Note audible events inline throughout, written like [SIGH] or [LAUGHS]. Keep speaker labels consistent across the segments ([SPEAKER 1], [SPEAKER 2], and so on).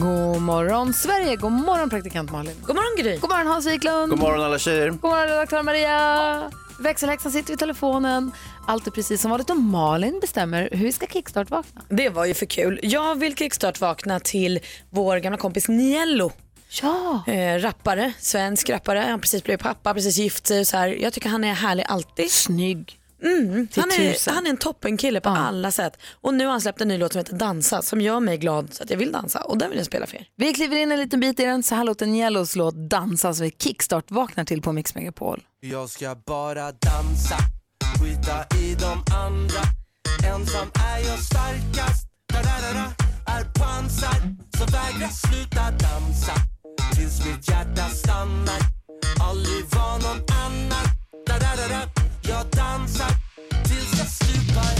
[SPEAKER 1] God morgon Sverige, god morgon praktikant Malin. God morgon Gry. God morgon Hans Wiklund. God
[SPEAKER 2] morgon alla tjejer.
[SPEAKER 1] God morgon redaktör Maria. Växelhäxan sitter vid telefonen. Allt är precis som vanligt och Malin bestämmer hur vi ska kickstart-vakna.
[SPEAKER 3] Det var ju för kul. Jag vill kickstart vakna till vår gamla kompis Niello.
[SPEAKER 1] Ja.
[SPEAKER 3] Eh, rappare, svensk rappare. Han har precis blivit pappa, precis gift sig. och Så här. Jag tycker han är härlig alltid.
[SPEAKER 1] Snygg.
[SPEAKER 3] Mm.
[SPEAKER 1] Till
[SPEAKER 3] Han, är,
[SPEAKER 1] tusen.
[SPEAKER 3] han är en toppenkille på alla sätt. Och nu har han släppt en ny låt som heter Dansa som gör mig glad så att jag vill dansa och den vill jag spela för er.
[SPEAKER 1] Vi kliver in en liten bit i den. Så här låter Niellos låt Dansa som vi kickstart-vaknar till på Mix Megapol.
[SPEAKER 4] Jag ska bara dansa, skita i de andra Ensam är jag starkast, da-da-da-da Är pansar, så vägrar sluta dansa Tills mitt hjärta stannar Aldrig var någon annan, da-da-da-da Jag dansar tills jag stupar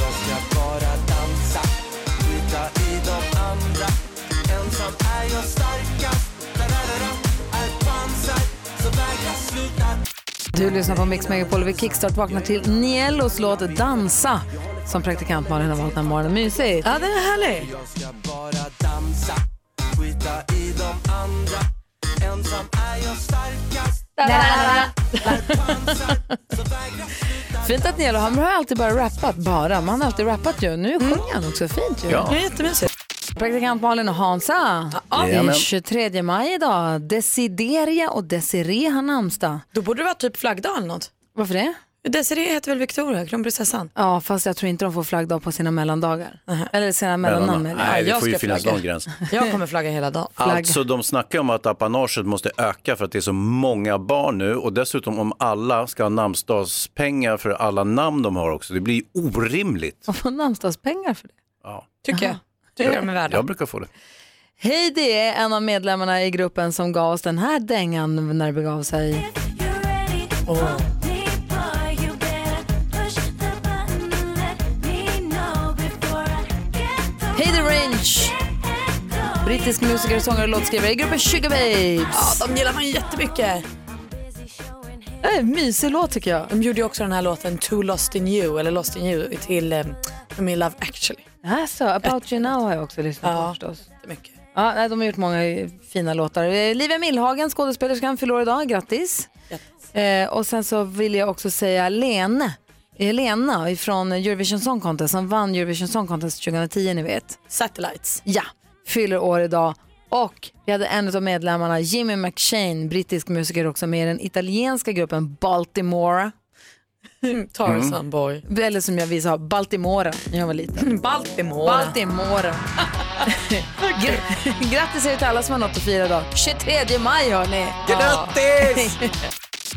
[SPEAKER 4] Jag ska bara dansa, skita i de andra Ensam är jag starkast, da-da-da-da Är pansar, så vägrar sluta
[SPEAKER 1] Du lyssnar på Mix Megapol och vi kickstart-vaknar till Niellos låt Dansa som praktikant Malin har valt den här morgonen. Mysigt.
[SPEAKER 3] Ja den är härlig.
[SPEAKER 4] Jag ska bara dansa, skita i de andra Ensam är jag starkast, är pansar, så vägrar sluta
[SPEAKER 1] Fint att Nielo, han har alltid bara rappat, bara. Man har alltid rappat ju.
[SPEAKER 3] Mm.
[SPEAKER 1] Nu sjunger han också fint ju.
[SPEAKER 3] Den är jättemysig.
[SPEAKER 1] Praktikant Malin och Hansa. Det är 23 maj idag. Desideria och Desiree har namnsdag.
[SPEAKER 3] Då borde det vara typ flaggdag eller något.
[SPEAKER 1] Varför det?
[SPEAKER 3] Desiree heter väl Victoria, kronprinsessan?
[SPEAKER 1] Ja, fast jag tror inte de får flaggdag på sina mellandagar. Eller sina mellannamn. eller-
[SPEAKER 2] Nej, det
[SPEAKER 3] jag
[SPEAKER 2] får ju
[SPEAKER 3] ska
[SPEAKER 2] finnas
[SPEAKER 3] flagga.
[SPEAKER 2] någon gräns.
[SPEAKER 3] Jag kommer flagga hela dagen.
[SPEAKER 2] Alltså de snackar om att apanaget måste öka för att det är så många barn nu och dessutom om alla ska ha namnsdagspengar för alla namn de har också. Det blir ju orimligt.
[SPEAKER 1] De får namnsdagspengar för det.
[SPEAKER 2] Ja,
[SPEAKER 3] Tycker jag. Tycker de är värda.
[SPEAKER 2] jag brukar få det.
[SPEAKER 1] Heidi är en av medlemmarna i gruppen som gav oss den här dängan när det begav sig. Oh. Heidi Range, brittisk musiker, sångare och låtskrivare i gruppen Sugar Babes.
[SPEAKER 3] Ja, de gillar man jättemycket.
[SPEAKER 1] Det är en mysig låt tycker jag.
[SPEAKER 3] De gjorde ju också den här låten Too Lost In You, eller Lost In You, till eh, From In Love Actually.
[SPEAKER 1] Alltså, About You Now har jag också lyssnat på förstås.
[SPEAKER 3] Jättemycket.
[SPEAKER 1] Ja, nej, de har gjort många eh, fina låtar. Eh, Livia Millhagen, skådespelerskan, fyller år idag. Grattis! Eh, och sen så vill jag också säga Lene, Helena från Eurovision Song Contest som vann Eurovision Song Contest 2010 ni vet.
[SPEAKER 3] Satellites.
[SPEAKER 1] Ja, fyller år idag. Och vi hade en av medlemmarna, Jimmy McShane, brittisk musiker också med i den italienska gruppen Baltimore.
[SPEAKER 3] Tarzan boy.
[SPEAKER 1] Eller som jag visade, Baltimore när jag var liten.
[SPEAKER 3] Baltimore.
[SPEAKER 1] [LAUGHS] Baltimore. Gr- Grattis säger vi till alla som har något att fira idag. 23 maj hörni. Grattis! [LAUGHS]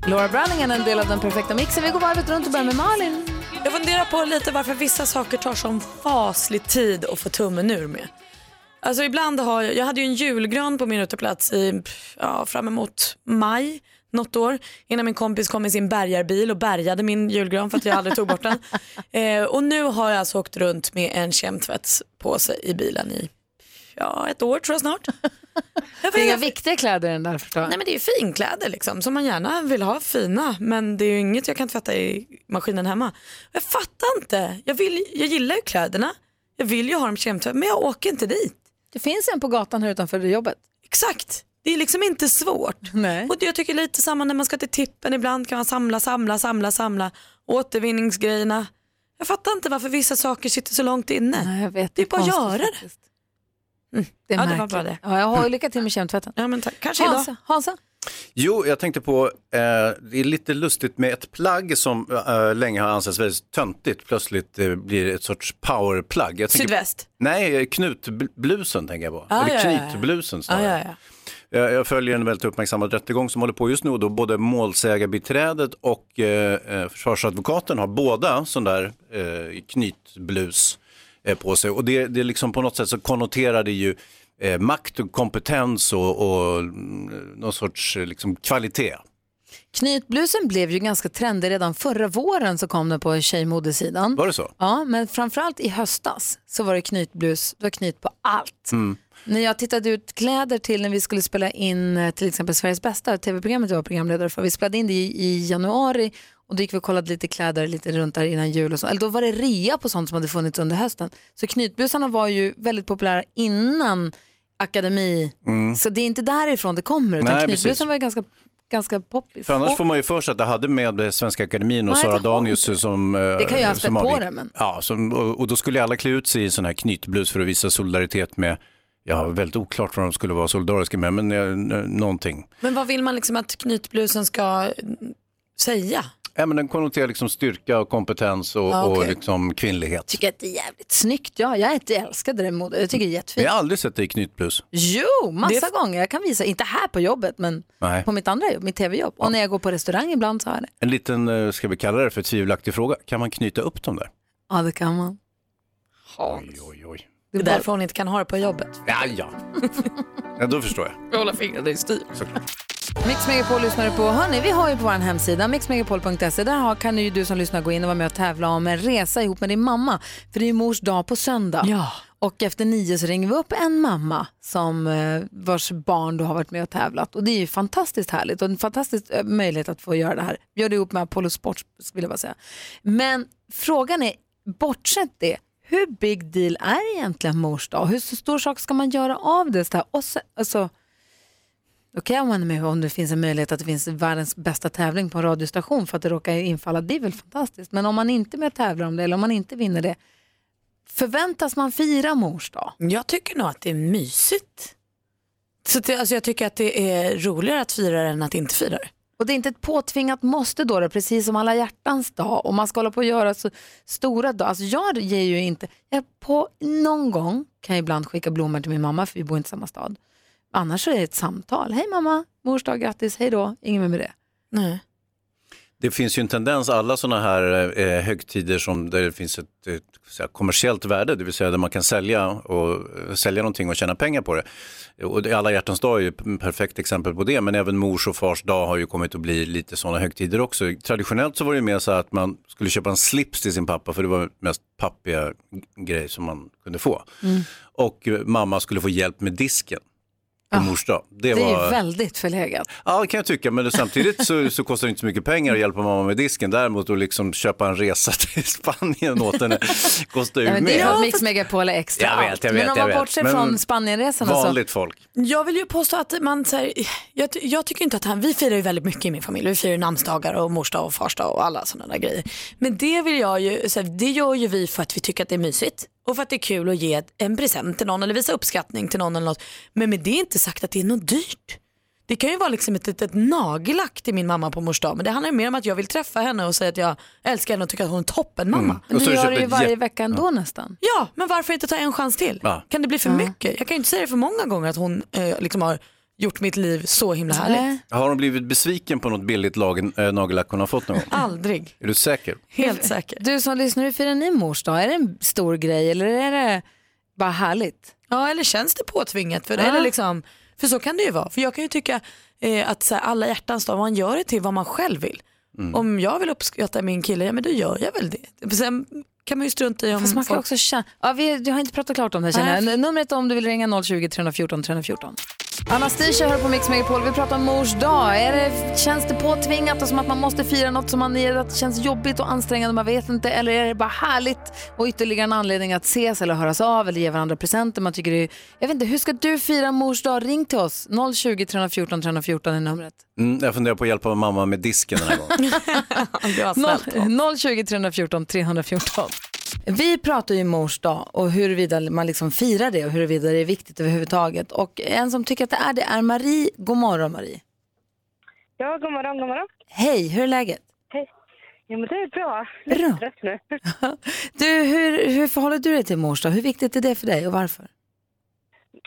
[SPEAKER 1] Laura Branningen är en del av den perfekta mixen. Vi går varvet runt och börjar med Malin.
[SPEAKER 3] Jag funderar på lite varför vissa saker tar sån faslig tid att få tummen ur med. Alltså ibland har jag, jag hade ju en julgran på min uteplats i, pff, ja, fram emot maj något år innan min kompis kom med sin bärgarbil och bärgade min julgran för att jag aldrig tog bort
[SPEAKER 1] [LAUGHS]
[SPEAKER 3] den. Eh, och nu har jag alltså åkt runt med en kemtvättspåse i bilen i ja, ett år tror jag
[SPEAKER 1] [LAUGHS]
[SPEAKER 3] snart. Jag
[SPEAKER 1] Det är inga
[SPEAKER 3] vet-
[SPEAKER 1] viktiga kläder i den där förstår jag.
[SPEAKER 3] Nej men det är ju finkläder liksom som man gärna vill ha fina men det är ju inget jag kan tvätta i maskinen hemma. Jag fattar inte. Jag, vill, jag gillar ju kläderna. Jag vill ju ha dem kemtvättade men jag åker inte dit.
[SPEAKER 1] Det finns en på gatan här utanför jobbet.
[SPEAKER 3] Exakt. Det är liksom inte svårt.
[SPEAKER 1] Nej.
[SPEAKER 3] Och det- jag tycker lite samma när man ska till tippen ibland kan man samla, samla, samla, samla. Återvinningsgrejerna. Jag fattar inte varför vissa saker sitter så långt inne.
[SPEAKER 1] Nej, jag vet.
[SPEAKER 3] Det är bara att
[SPEAKER 1] konstigt
[SPEAKER 3] göra det.
[SPEAKER 1] faktiskt. Mm, Det är
[SPEAKER 3] Ja, det var
[SPEAKER 1] märkligt.
[SPEAKER 3] bara det.
[SPEAKER 1] Ja, jag har lycka till med kemtvätten.
[SPEAKER 3] Ja men tack. Kanske idag.
[SPEAKER 1] Hansa, Hansa.
[SPEAKER 2] Jo, jag tänkte på, eh, det är lite lustigt med ett plagg som eh, länge har ansetts väldigt töntigt, plötsligt eh, blir ett sorts powerplagg. Jag tänker-
[SPEAKER 3] Sydväst.
[SPEAKER 2] Nej, knutblusen tänker jag på.
[SPEAKER 3] Ah,
[SPEAKER 2] Eller
[SPEAKER 3] ja, ja, ja.
[SPEAKER 2] knytblusen
[SPEAKER 3] Ja,
[SPEAKER 2] snarare.
[SPEAKER 3] ja, ja.
[SPEAKER 2] Jag, jag följer en väldigt uppmärksammad rättegång som håller på just nu och då både målsägarbiträdet och eh, eh, försvarsadvokaten har båda sån där eh, knytblus. eh, på sig. Och det, det är liksom på något sätt så konnoterar det ju eh, makt och kompetens och, och mm, någon sorts eh, liksom, kvalitet.
[SPEAKER 1] Knytblusen blev ju ganska trendig redan förra våren så kom den på tjejmodesidan.
[SPEAKER 2] Var det så?
[SPEAKER 1] Ja, men framförallt i höstas så var det knytblus, det var knyt på allt.
[SPEAKER 2] Mm.
[SPEAKER 1] När jag tittade ut kläder till när vi skulle spela in eh, till exempel Sveriges bästa, tv-programmet jag var programledare för, vi spelade in det i, i januari och då gick vi och kollade lite kläder lite runt där innan jul och så. Eller då var det rea på sånt som hade funnits under hösten. Så knytblusarna var ju väldigt populära innan akademi, så det är inte därifrån det kommer utan
[SPEAKER 2] Mm. Nej,
[SPEAKER 1] knytblusen
[SPEAKER 2] precis.
[SPEAKER 1] var ju ganska, ganska poppis.
[SPEAKER 2] För annars
[SPEAKER 1] Och-
[SPEAKER 2] får man ju för sig att det hade med Svenska Akademin och
[SPEAKER 1] Nej,
[SPEAKER 2] Sara
[SPEAKER 1] det har
[SPEAKER 2] Danius som...
[SPEAKER 1] Det kan ju ha haft ett på det, men-
[SPEAKER 2] Ja, som, och, och då skulle alla klä ut sig i en sån här knytblus för att visa solidaritet med, ja, väldigt oklart vad de skulle vara solidariska med, men eh, n- någonting.
[SPEAKER 3] Men vad vill man liksom att knytblusen ska eh, säga?
[SPEAKER 2] Ja, men den konnoterar liksom styrka och kompetens och,
[SPEAKER 3] Ja, okej.
[SPEAKER 2] och liksom kvinnlighet.
[SPEAKER 1] tycker att det är jävligt snyggt. Ja, jag är- älskade det modet. Jag tycker det är
[SPEAKER 2] Men
[SPEAKER 1] jättefint.
[SPEAKER 2] jag har aldrig sett dig i knytblus.
[SPEAKER 1] Jo, massa gånger. Jag kan visa, inte här på jobbet, men
[SPEAKER 2] Nej.
[SPEAKER 1] på mitt andra jobb, mitt tv-jobb. Och när jag går på restaurang ibland så har jag det.
[SPEAKER 2] En liten, eh, ska vi kalla det för tvivelaktig fråga, kan man knyta upp dem där?
[SPEAKER 1] Ja, det kan man.
[SPEAKER 2] Oj, oj, oj.
[SPEAKER 3] Det är därför hon inte kan ha det på jobbet.
[SPEAKER 2] Ja,
[SPEAKER 3] [LAUGHS]
[SPEAKER 2] ja. ja då förstår jag.
[SPEAKER 3] Hålla fingrarna i styr.
[SPEAKER 1] Mix Megapol lyssnar du på. Hörni, vi har ju på vår hemsida mixmegapol.se. Där har, kan ju du som lyssnar gå in och vara med och tävla om en resa ihop med din mamma. För det är ju mors dag på söndag.
[SPEAKER 3] Ja.
[SPEAKER 1] Och efter nio så ringer vi upp en mamma som eh, vars barn då har varit med och tävlat. Och det är ju fantastiskt härligt och en fantastisk eh, möjlighet att få göra det här. Gör det ihop med Apollo Sports vill jag bara säga. Men frågan är, bortsett det, hur big deal är egentligen mors dag? Hur stor sak ska man göra av det? Så här? Och så, alltså, Okej om man är med om det finns en möjlighet att det finns världens bästa tävling på en radiostation för att det råkar infalla, det är väl fantastiskt. Men om man inte är med och tävlar om det eller om man inte vinner det, förväntas man fira mors dag?
[SPEAKER 3] Jag tycker nog att det är mysigt. Så det, alltså jag tycker att det är roligare att fira det än att inte fira det.
[SPEAKER 1] Och det är inte ett påtvingat måste då, det, precis som alla hjärtans dag. Och man ska hålla på och göra så stora dagar. Alltså jag ger ju inte, jag på någon gång kan jag ibland skicka blommor till min mamma för vi bor inte i samma stad. Annars så är det ett samtal. Hej mamma, mors dag, grattis, hej då, ingen mer med det.
[SPEAKER 3] Nej.
[SPEAKER 2] Det finns ju en tendens, alla sådana här eh, högtider som där det finns ett, ett så här, kommersiellt värde, det vill säga där man kan sälja, och, eh, sälja någonting och tjäna pengar på det. Och det- alla hjärtans dag är ju ett perfekt exempel på det, men även mors och fars dag har ju kommit att bli lite sådana högtider också. Traditionellt så var det ju mer så här att man skulle köpa en slips till sin pappa, för det var mest pappiga grej som man kunde få. Och eh, mamma skulle få hjälp med disken på mors dag. Det,
[SPEAKER 1] Det
[SPEAKER 2] var...
[SPEAKER 1] är väldigt förlegat.
[SPEAKER 2] Ja, det kan jag tycka, men samtidigt så, så kostar det inte så mycket pengar att hjälpa mamma med disken. Däremot att liksom köpa en resa [LAUGHS] till Spanien åt henne kostar ju
[SPEAKER 1] Nej, men det
[SPEAKER 2] mer.
[SPEAKER 1] är för att Mix Megapol är extra
[SPEAKER 2] Jag vet, jag
[SPEAKER 1] allt.
[SPEAKER 2] vet,
[SPEAKER 1] Men om
[SPEAKER 2] jag
[SPEAKER 1] man
[SPEAKER 2] vet.
[SPEAKER 1] bortser
[SPEAKER 2] Men
[SPEAKER 1] från Spanienresan och så.
[SPEAKER 2] Vanligt folk.
[SPEAKER 3] Jag vill ju påstå att man, så här, jag, ty- jag tycker inte att han, vi firar ju väldigt mycket i min familj. Vi firar ju namnsdagar och morsdag och farsdag och alla sådana där grejer. Men det vill jag ju, så här, det gör ju vi för att vi tycker att det är mysigt och för att det är kul att ge en present till någon eller visa uppskattning till någon eller något. Men med det är inte sagt att det är något dyrt. Det kan ju vara liksom ett litet nagellack till min mamma på mors dag men det handlar ju mer om att jag vill träffa henne och säga att jag älskar henne och tycker att hon är toppen mamma.
[SPEAKER 1] Men
[SPEAKER 2] Och så
[SPEAKER 1] du
[SPEAKER 2] har du köpt
[SPEAKER 1] gör det ju
[SPEAKER 2] ett
[SPEAKER 1] varje
[SPEAKER 2] jätte-
[SPEAKER 1] vecka ändå nästan.
[SPEAKER 3] Ja, men varför inte ta en chans till?
[SPEAKER 2] Ja.
[SPEAKER 3] Kan det bli för mycket? Jag kan ju inte säga det för många gånger att hon eh, liksom har gjort mitt liv så himla härligt.
[SPEAKER 1] Nej.
[SPEAKER 2] Har hon blivit besviken på något billigt lag, äh, nagellack hon har fått någon gång?
[SPEAKER 3] Aldrig,
[SPEAKER 2] Är du säker?
[SPEAKER 3] helt
[SPEAKER 1] [LAUGHS]
[SPEAKER 3] säker.
[SPEAKER 1] Du som lyssnar, hur firar ni mors dag? Är det en stor grej eller är det bara härligt?
[SPEAKER 3] Ja, eller känns det påtvingat? För, eller liksom, för så kan det ju vara. För jag kan ju tycka eh, att så här, alla hjärtans dag, man gör det till vad man själv vill. Om jag vill uppskatta min kille, ja men då gör jag väl det. Sen kan man ju strunta i om
[SPEAKER 1] Fast man kan
[SPEAKER 3] folk-
[SPEAKER 1] också känna... Ja, vi, vi har inte pratat klart om det här känner jag.
[SPEAKER 3] Nej.
[SPEAKER 1] N- Numret om du vill ringa 020 314 314. Anastasia hör på Mix Megapol. Vi pratar om mors dag. Är det, känns det påtvingat och som att man måste fira något som man att det känns jobbigt och ansträngande man vet inte? Eller är det bara härligt och ytterligare en anledning att ses eller höras av eller ge varandra presenter? Man tycker det är, jag vet inte, hur ska du fira mors dag? Ring till oss. 020 314 314 är numret.
[SPEAKER 2] Mm, jag funderar på att hjälpa mamma med disken den här gången.
[SPEAKER 3] Det var
[SPEAKER 1] [LAUGHS]
[SPEAKER 3] snällt.
[SPEAKER 1] 020 314 314. Vi pratar ju mors dag och huruvida man liksom firar det och huruvida det är viktigt överhuvudtaget. Och en som tycker att det är det är Marie. God morgon Marie.
[SPEAKER 5] Ja, god morgon, god morgon.
[SPEAKER 1] Hej, hur är läget?
[SPEAKER 5] Hej. Ja, men det är bra.
[SPEAKER 1] Bra.
[SPEAKER 5] Trött nu.
[SPEAKER 1] Du, hur, hur förhåller du dig till mors dag? Hur viktigt är det för dig och varför?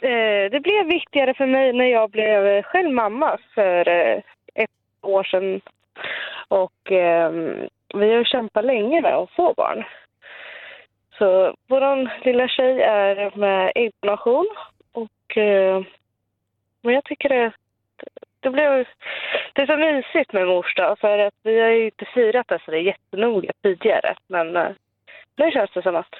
[SPEAKER 5] Eh, Det blev viktigare för mig när jag blev eh, själv mamma för eh, ett år sedan. ehm, Och eh, vi har ju kämpat länge med att få barn. Så vår lilla tjej är med äggdonation och eh, men jag tycker det, det blev det är så mysigt med mors dag för att vi har ju inte firat det så det är jättenoga tidigare men eh, nu känns det som att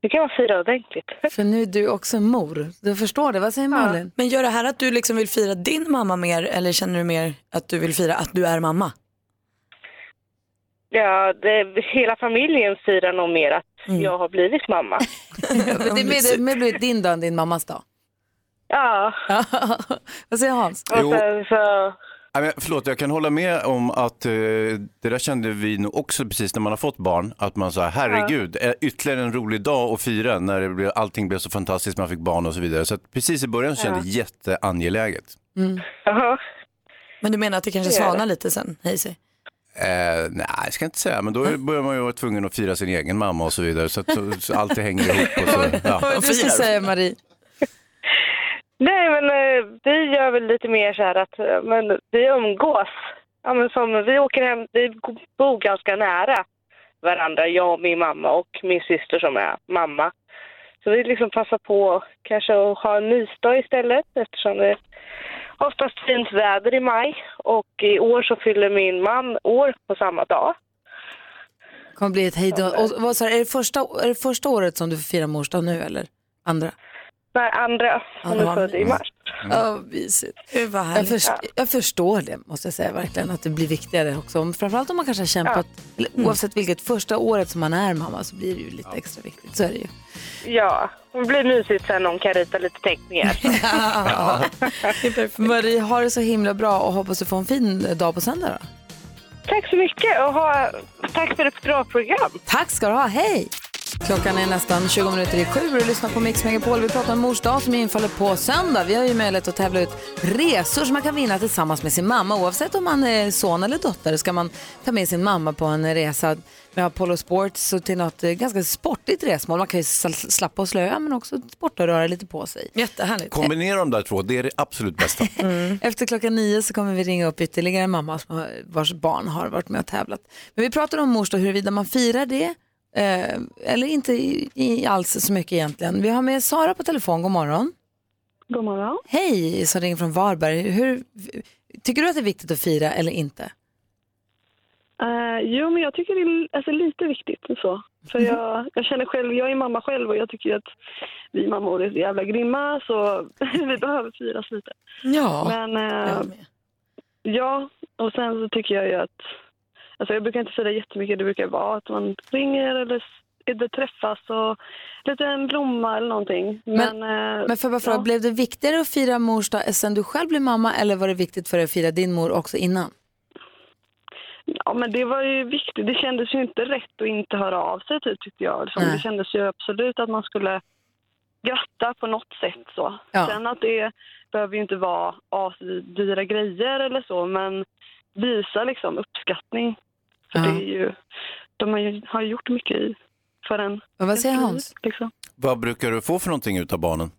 [SPEAKER 5] nu kan man fira ordentligt.
[SPEAKER 1] För nu är du också mor. Du förstår det. Vad säger Malin?
[SPEAKER 3] Men gör det här att du liksom vill fira din mamma mer eller känner du mer att du vill fira att du är
[SPEAKER 1] [LAUGHS]
[SPEAKER 3] mamma?
[SPEAKER 5] Ja, det, hela familjen firar nog mer att jag har blivit mamma.
[SPEAKER 3] [LAUGHS]
[SPEAKER 1] Men det blir, det blir din dag än din mammas dag.
[SPEAKER 5] Ja,
[SPEAKER 1] Vad säger Hans?
[SPEAKER 5] och
[SPEAKER 2] Jo.
[SPEAKER 5] sen så...
[SPEAKER 2] Nej, men förlåt, jag kan hålla med om att eh, det där kände vi nog också precis när man har fått barn. Att man sa, herregud, eh, ytterligare en rolig dag att fira när det blev, allting blev så fantastiskt, man fick barn och så vidare. Så att precis i början så kände jag det jätteangeläget.
[SPEAKER 5] Jaha.
[SPEAKER 3] Men du menar att det kanske
[SPEAKER 5] Det gör
[SPEAKER 3] svalnar lite sen? Hazy?
[SPEAKER 2] Eh, nej, jag ska inte säga, men då börjar man ju vara tvungen att fira sin egen mamma och så vidare. Så att så, så allt det hänger ihop. Och så,
[SPEAKER 1] Vad
[SPEAKER 2] ja.
[SPEAKER 1] var det du skulle säga Marie?
[SPEAKER 5] Nej, men eh, vi gör väl lite mer så här att eh, men, vi umgås. Ja, men som, vi åker hem, vi bor ganska nära varandra, jag och min mamma och min syster som är mamma. Så vi liksom passar på kanske att ha en mysdag istället eftersom det är oftast fint väder i maj. Och i år så fyller min man år på samma dag.
[SPEAKER 1] Det kommer bli ett hejdå. Och, vad, så här, är, det första, är det första året som du får fira mors dag nu eller? Andra?
[SPEAKER 5] Nej, andra. Han
[SPEAKER 1] vad
[SPEAKER 5] är född i
[SPEAKER 1] mysigt.
[SPEAKER 5] mars.
[SPEAKER 1] Ja, mysigt.
[SPEAKER 3] Gud vad
[SPEAKER 1] Jag,
[SPEAKER 3] härligt.
[SPEAKER 1] förs- jag förstår det, måste jag säga verkligen, att det blir viktigare också. Om, framförallt om man kanske har kämpat, eller, oavsett vilket, första året som man är mamma så blir det ju lite extra viktigt. Så är det ju.
[SPEAKER 5] Ja, det blir mysigt sen om hon kan rita lite teckningar.
[SPEAKER 1] Marie, ha det så himla bra och hoppas du får en fin eh, dag på söndag då.
[SPEAKER 5] Tack så mycket och ha, tack för ett bra program.
[SPEAKER 1] Tack ska du ha, hej! Klockan är nästan 20 minuter i sju och du lyssnar på Mix Megapol. Vi pratar om mors dag som infaller på söndag. Vi har ju möjlighet att tävla ut resor som man kan vinna tillsammans med sin mamma. Oavsett om man är son eller dotter ska man ta med sin mamma på en resa med Apollo Sports och till något eh, ganska sportigt resmål. Man kan ju sl- slappa och slöa men också sporta och röra lite på sig.
[SPEAKER 3] Jättehärligt.
[SPEAKER 2] Kombinera de där två, det är det absolut bästa.
[SPEAKER 1] Efter klockan nio så kommer vi ringa upp ytterligare en mamma som har, vars barn har varit med och tävlat. Men vi pratar om mors dag, huruvida man firar det eh, eller inte i, i alls så mycket egentligen. Vi har med Sara på telefon, god morgon.
[SPEAKER 5] God morgon.
[SPEAKER 1] Hej, som ringer från Varberg. Hur, tycker du att det är viktigt att fira eller inte?
[SPEAKER 5] Eh, jo, men jag tycker det är alltså, lite viktigt och så. För jag, jag känner själv, jag är mamma själv och jag tycker att vi mammor är så jävla grymma så [LAUGHS] vi behöver firas lite.
[SPEAKER 3] Ja,
[SPEAKER 5] Men eh,
[SPEAKER 3] jag med.
[SPEAKER 5] ja, och sen så tycker jag ju att, alltså jag brukar inte fira jättemycket, det brukar vara att man ringer eller s- eller träffas och lite en blomma eller någonting.
[SPEAKER 1] Men-
[SPEAKER 5] Men, eh,
[SPEAKER 1] Men för bara fråga,
[SPEAKER 5] Ja.
[SPEAKER 1] blev det viktigare att fira mors dag sen du själv blev mamma eller var det viktigt för dig att fira din mor också innan?
[SPEAKER 5] Ja, men det var ju viktigt. Det kändes ju inte rätt att inte höra av sig, typ, tyckte jag. Liksom.
[SPEAKER 1] Nej.
[SPEAKER 5] Det kändes ju absolut att man skulle gratta på något sätt. Så.
[SPEAKER 1] Ja.
[SPEAKER 5] Sen att det behöver ju inte vara asdyra grejer eller så, men visa liksom uppskattning. För
[SPEAKER 1] Ja.
[SPEAKER 5] det är ju, de har ju har ju gjort mycket i, för en.
[SPEAKER 1] Men vad säger Hans?
[SPEAKER 5] Liksom.
[SPEAKER 2] Vad brukar du få för någonting utav barnen?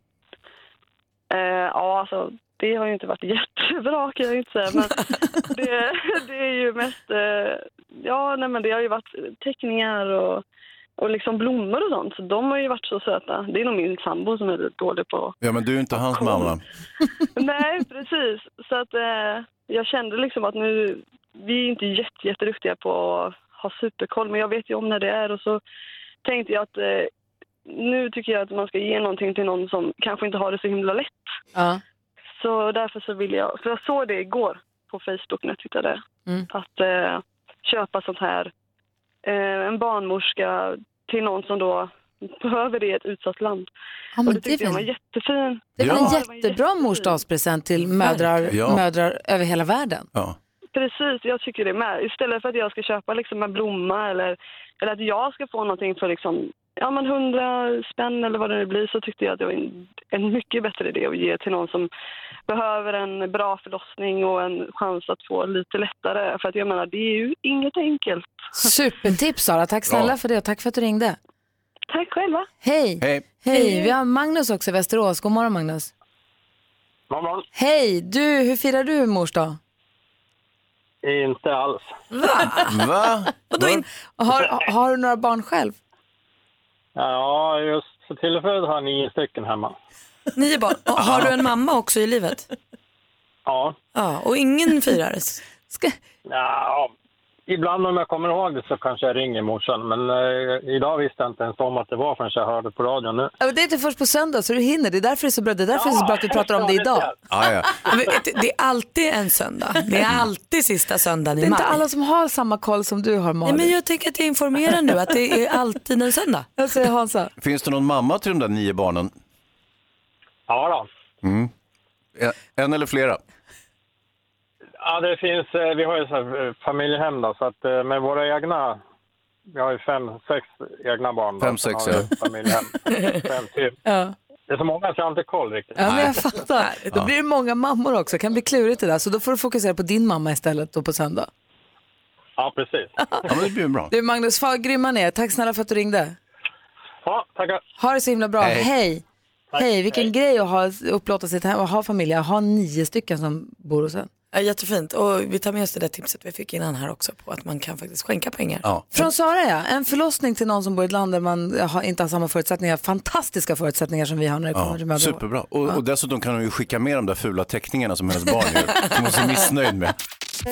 [SPEAKER 5] Eh, ja, alltså, det har ju inte varit [LAUGHS] jättebra kan jag ju inte säga. Men det, det är ju mest... Eh, ja, nej, men det har ju varit teckningar och, och liksom blommor och sånt. Så de har ju varit så söta. Det är nog min sambo som är lite dålig på...
[SPEAKER 2] Ja, men du är inte hans
[SPEAKER 5] Kom.
[SPEAKER 2] mamma.
[SPEAKER 5] Nej, precis. Så att eh, jag kände liksom att nu... Vi är inte jätte, jätteduktiga på att ha superkoll, men jag vet ju om när det är. Och så tänkte jag att eh, nu tycker jag att man ska ge någonting till någon som kanske inte har det så himla lätt.
[SPEAKER 1] Ja.
[SPEAKER 5] Så därför så vill jag, för jag såg det igår på Facebook när jag tittade,
[SPEAKER 1] Mm.
[SPEAKER 5] att eh, köpa sånt här, eh, en barnmorska till någon som då behöver det i ett utsatt land.
[SPEAKER 1] Ja,
[SPEAKER 5] och
[SPEAKER 1] men
[SPEAKER 5] det
[SPEAKER 1] Mm, det är
[SPEAKER 5] tyckte jag var
[SPEAKER 1] väl,
[SPEAKER 5] jättefin.
[SPEAKER 1] det är väl
[SPEAKER 2] Ja.
[SPEAKER 1] en jättebra morsdagspresent till mödrar,
[SPEAKER 2] Ja.
[SPEAKER 1] mödrar över hela världen.
[SPEAKER 2] Ja.
[SPEAKER 5] Precis, jag tycker det med. Istället för att jag ska köpa liksom en blomma eller, eller att jag ska få någonting för liksom, ja men hundra spänn eller vad det nu blir så tyckte jag att det var en, en mycket bättre idé att ge till någon som behöver en bra förlossning och en chans att få lite lättare. För att jag menar, det är ju inget enkelt.
[SPEAKER 1] [LAUGHS] Supertips Sara, tack snälla
[SPEAKER 2] Ja.
[SPEAKER 1] för det och tack för att du ringde.
[SPEAKER 5] Tack själva!
[SPEAKER 1] Hej!
[SPEAKER 2] Hej.
[SPEAKER 1] Hej. Vi har Magnus också i Västerås. God morgon Magnus.
[SPEAKER 6] God morgon.
[SPEAKER 1] Hej! Du, hur firar du mors dag?
[SPEAKER 6] Inte alls.
[SPEAKER 2] Va?
[SPEAKER 3] Och då in-
[SPEAKER 1] Har, har du några barn själv?
[SPEAKER 6] Ja, just för tillfället har jag nio stycken hemma.
[SPEAKER 3] Nio barn. Och har du en mamma också i livet?
[SPEAKER 6] Ja.
[SPEAKER 3] Ja, och ingen firar.
[SPEAKER 1] Ska,
[SPEAKER 6] ja. Ibland om jag kommer ihåg det så kanske jag ringer morsan, men eh, idag visste jag inte ens om att det var förrän jag hörde på radion nu.
[SPEAKER 1] Ja, men det är inte först på söndag så du hinner. Det är därför det är så bra, det är därför det är så bra att vi pratar om det idag.
[SPEAKER 2] Ja, ja.
[SPEAKER 3] Ja, men det- Det är alltid en söndag. Det är alltid sista söndagen
[SPEAKER 1] Det är
[SPEAKER 3] i maj.
[SPEAKER 1] inte alla som har samma koll som du har
[SPEAKER 3] Nej,
[SPEAKER 1] Malin.
[SPEAKER 3] men jag tänker att jag informerar nu att det är alltid en söndag.
[SPEAKER 1] Jag säger Hansa.
[SPEAKER 2] Finns det någon mamma till de där nio barnen?
[SPEAKER 6] Ja, då.
[SPEAKER 2] En- En eller flera?
[SPEAKER 6] Ja, det finns, eh, vi har ju så här eh, familjehem då, så att eh, med våra egna, vi har ju fem, sex egna barn. då,
[SPEAKER 2] Fem,
[SPEAKER 6] sen
[SPEAKER 2] sex,
[SPEAKER 6] har vi
[SPEAKER 2] ja.
[SPEAKER 6] ett Familjehem. fem, typ.
[SPEAKER 1] Ja.
[SPEAKER 6] Det är så många att jag har inte koll riktigt.
[SPEAKER 1] Ja, men jag fattar. Då blir det många mammor också. Det kan bli klurigt det där. Så då får du fokusera på din mamma istället då på söndag.
[SPEAKER 6] Ja, precis.
[SPEAKER 2] Ja, men det blir bra.
[SPEAKER 1] Du Magnus, fan vad grymma ni är. Tack snälla för att du ringde.
[SPEAKER 6] Ja, tackar.
[SPEAKER 1] Ha det så himla bra.
[SPEAKER 2] Hej.
[SPEAKER 1] Hej. Hej, vilken grej att ha, upplåta sitt hem och ha familj. Ha nio stycken som bor hos en.
[SPEAKER 3] Ja, jättefint. Och vi tar med oss det där tipset vi fick innan här också på att man kan faktiskt skänka pengar.
[SPEAKER 2] Ja.
[SPEAKER 1] Från Sara ja, en förlossning till någon som bor i ett land där man har, inte har samma förutsättningar, fantastiska förutsättningar som vi har när det kommer
[SPEAKER 2] Ja,
[SPEAKER 1] till mödravård.
[SPEAKER 2] superbra. Och, och dessutom kan hon ju skicka med de där fula teckningarna som hennes barn gör, som hon är så missnöjd med.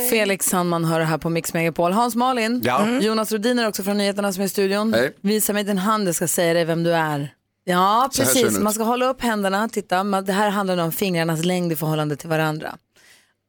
[SPEAKER 1] Felix Sandman hör det här på Mix Megapol. Hans Malin,
[SPEAKER 2] Ja.
[SPEAKER 1] Mm. Jonas Rodiner också från nyheterna som är i studion. Visa mig din hand, jag ska säga dig vem du är. Ja,
[SPEAKER 7] här ser
[SPEAKER 1] precis.
[SPEAKER 7] den ut.
[SPEAKER 1] Man ska hålla upp händerna, titta. Man- Det här handlar nu om fingrarnas längd i förhållande till varandra.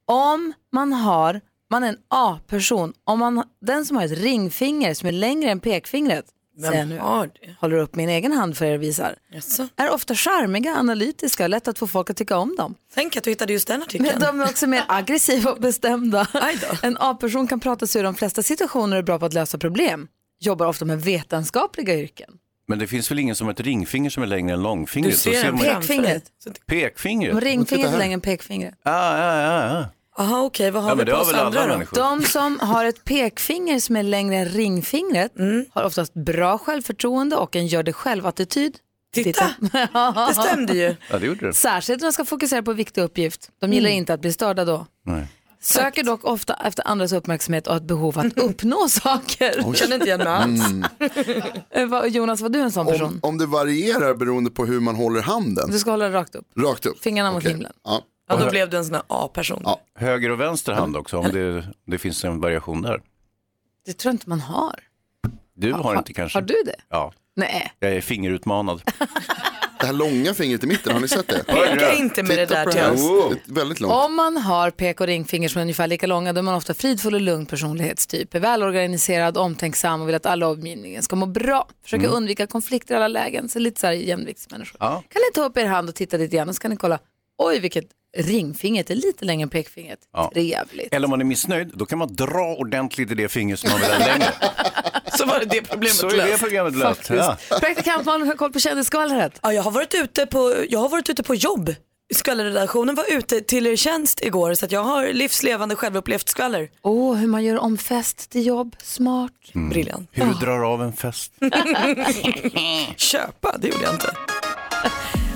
[SPEAKER 1] Om man har, man är en A-person, om man, den som har ett ringfinger som är längre än pekfingret, säger jag
[SPEAKER 3] Vem
[SPEAKER 1] nu,
[SPEAKER 3] har det?
[SPEAKER 1] håller upp min egen hand för er och visar,
[SPEAKER 3] Jaså?
[SPEAKER 1] är ofta charmiga, analytiska och lätt att få folk att tycka om dem.
[SPEAKER 3] Tänk att du hittade just den artikeln.
[SPEAKER 1] Men de är också mer aggressiva och bestämda.
[SPEAKER 3] Aj då.
[SPEAKER 1] En A-person kan prata sig ur de flesta situationer och är bra på att lösa problem. Jobbar ofta med vetenskapliga yrken.
[SPEAKER 2] Men det finns väl ingen som har ett ringfinger som är längre än långfingret?
[SPEAKER 3] Du
[SPEAKER 2] Då
[SPEAKER 3] ser den
[SPEAKER 2] man ju-
[SPEAKER 1] pek- Pekfingret.
[SPEAKER 3] framför dig.
[SPEAKER 1] De
[SPEAKER 2] Pekfingret? Ah,
[SPEAKER 1] Ringfingret är längre än pekfingret.
[SPEAKER 2] Ja, ja, ja, ja.
[SPEAKER 3] Jaha, okej. Vad har
[SPEAKER 2] ja
[SPEAKER 3] vi
[SPEAKER 2] men det
[SPEAKER 3] på
[SPEAKER 2] har
[SPEAKER 3] oss
[SPEAKER 2] väl alla
[SPEAKER 3] andra då?
[SPEAKER 2] människor?
[SPEAKER 1] De som har ett pekfinger som är längre än ringfingret
[SPEAKER 3] Mm.
[SPEAKER 1] har oftast bra självförtroende och en gör det själv-attityd.
[SPEAKER 3] Titta, det stämde ju.
[SPEAKER 2] Ja, det gjorde det.
[SPEAKER 1] Särskilt när de ska fokusera på viktig uppgift. De
[SPEAKER 3] Mm.
[SPEAKER 1] gillar inte att bli störda då.
[SPEAKER 2] Nej.
[SPEAKER 1] Söker dock ofta efter andras uppmärksamhet och har ett
[SPEAKER 3] [LAUGHS]
[SPEAKER 1] behov att uppnå saker.
[SPEAKER 3] Känner inte igen mig alls.
[SPEAKER 2] Mm.
[SPEAKER 1] Eh, vad- Jonas, var du en sån
[SPEAKER 7] Om,
[SPEAKER 1] person?
[SPEAKER 7] om det varierar beroende på hur man håller handen.
[SPEAKER 1] Du ska hålla rakt upp.
[SPEAKER 7] Rakt upp.
[SPEAKER 1] Fingrarna mot
[SPEAKER 7] Okej.
[SPEAKER 1] himlen.
[SPEAKER 7] Ja.
[SPEAKER 3] Ja, då blev du en sån här A-person.
[SPEAKER 7] Ja.
[SPEAKER 2] Höger och vänster hand också, om det, om det finns en variation där.
[SPEAKER 1] Det tror jag inte man har.
[SPEAKER 2] Du har inte kanske?
[SPEAKER 1] Har du det?
[SPEAKER 2] Ja,
[SPEAKER 1] Nej.
[SPEAKER 2] jag är fingerutmanad.
[SPEAKER 7] Det här långa fingret i mitten, har ni sett det?
[SPEAKER 3] Peka inte med det där till oss.
[SPEAKER 7] oss. Väldigt långt.
[SPEAKER 1] Om man har pek och ringfinger som är ungefär lika långa då är man ofta fridfull och lugn personlighetstyp. Är välorganiserad, omtänksam och vill att alla i omgivningen ska må bra. Försöker undvika konflikter i alla lägen. Så lite så här jämviktsmänniskor.
[SPEAKER 2] Ja.
[SPEAKER 1] Kan ni ta upp er hand och titta lite grann och så kan ni kolla. Oj, vilket ringfingret är lite längre än pekfingret.
[SPEAKER 2] Ja.
[SPEAKER 1] Trevligt.
[SPEAKER 2] Eller om man är missnöjd, då kan man dra ordentligt i det finger som man vill ha längre.
[SPEAKER 3] Så var det det
[SPEAKER 2] Så
[SPEAKER 3] problemet
[SPEAKER 2] är det
[SPEAKER 3] löst.
[SPEAKER 2] programmet löst. Ja.
[SPEAKER 1] Praktikant Malin har koll på kändisskvallret.
[SPEAKER 3] Ja, jag, har varit ute på, jag har varit ute på jobb. Skvallerredaktionen var ute till er tjänst igår så att jag har livslevande självupplevt skvaller.
[SPEAKER 1] Åh, hur man gör om fest till jobb. Smart.
[SPEAKER 3] Mm.
[SPEAKER 2] Mm.
[SPEAKER 3] Briljant.
[SPEAKER 2] Hur du drar av en fest.
[SPEAKER 3] Köpa, det gjorde jag inte.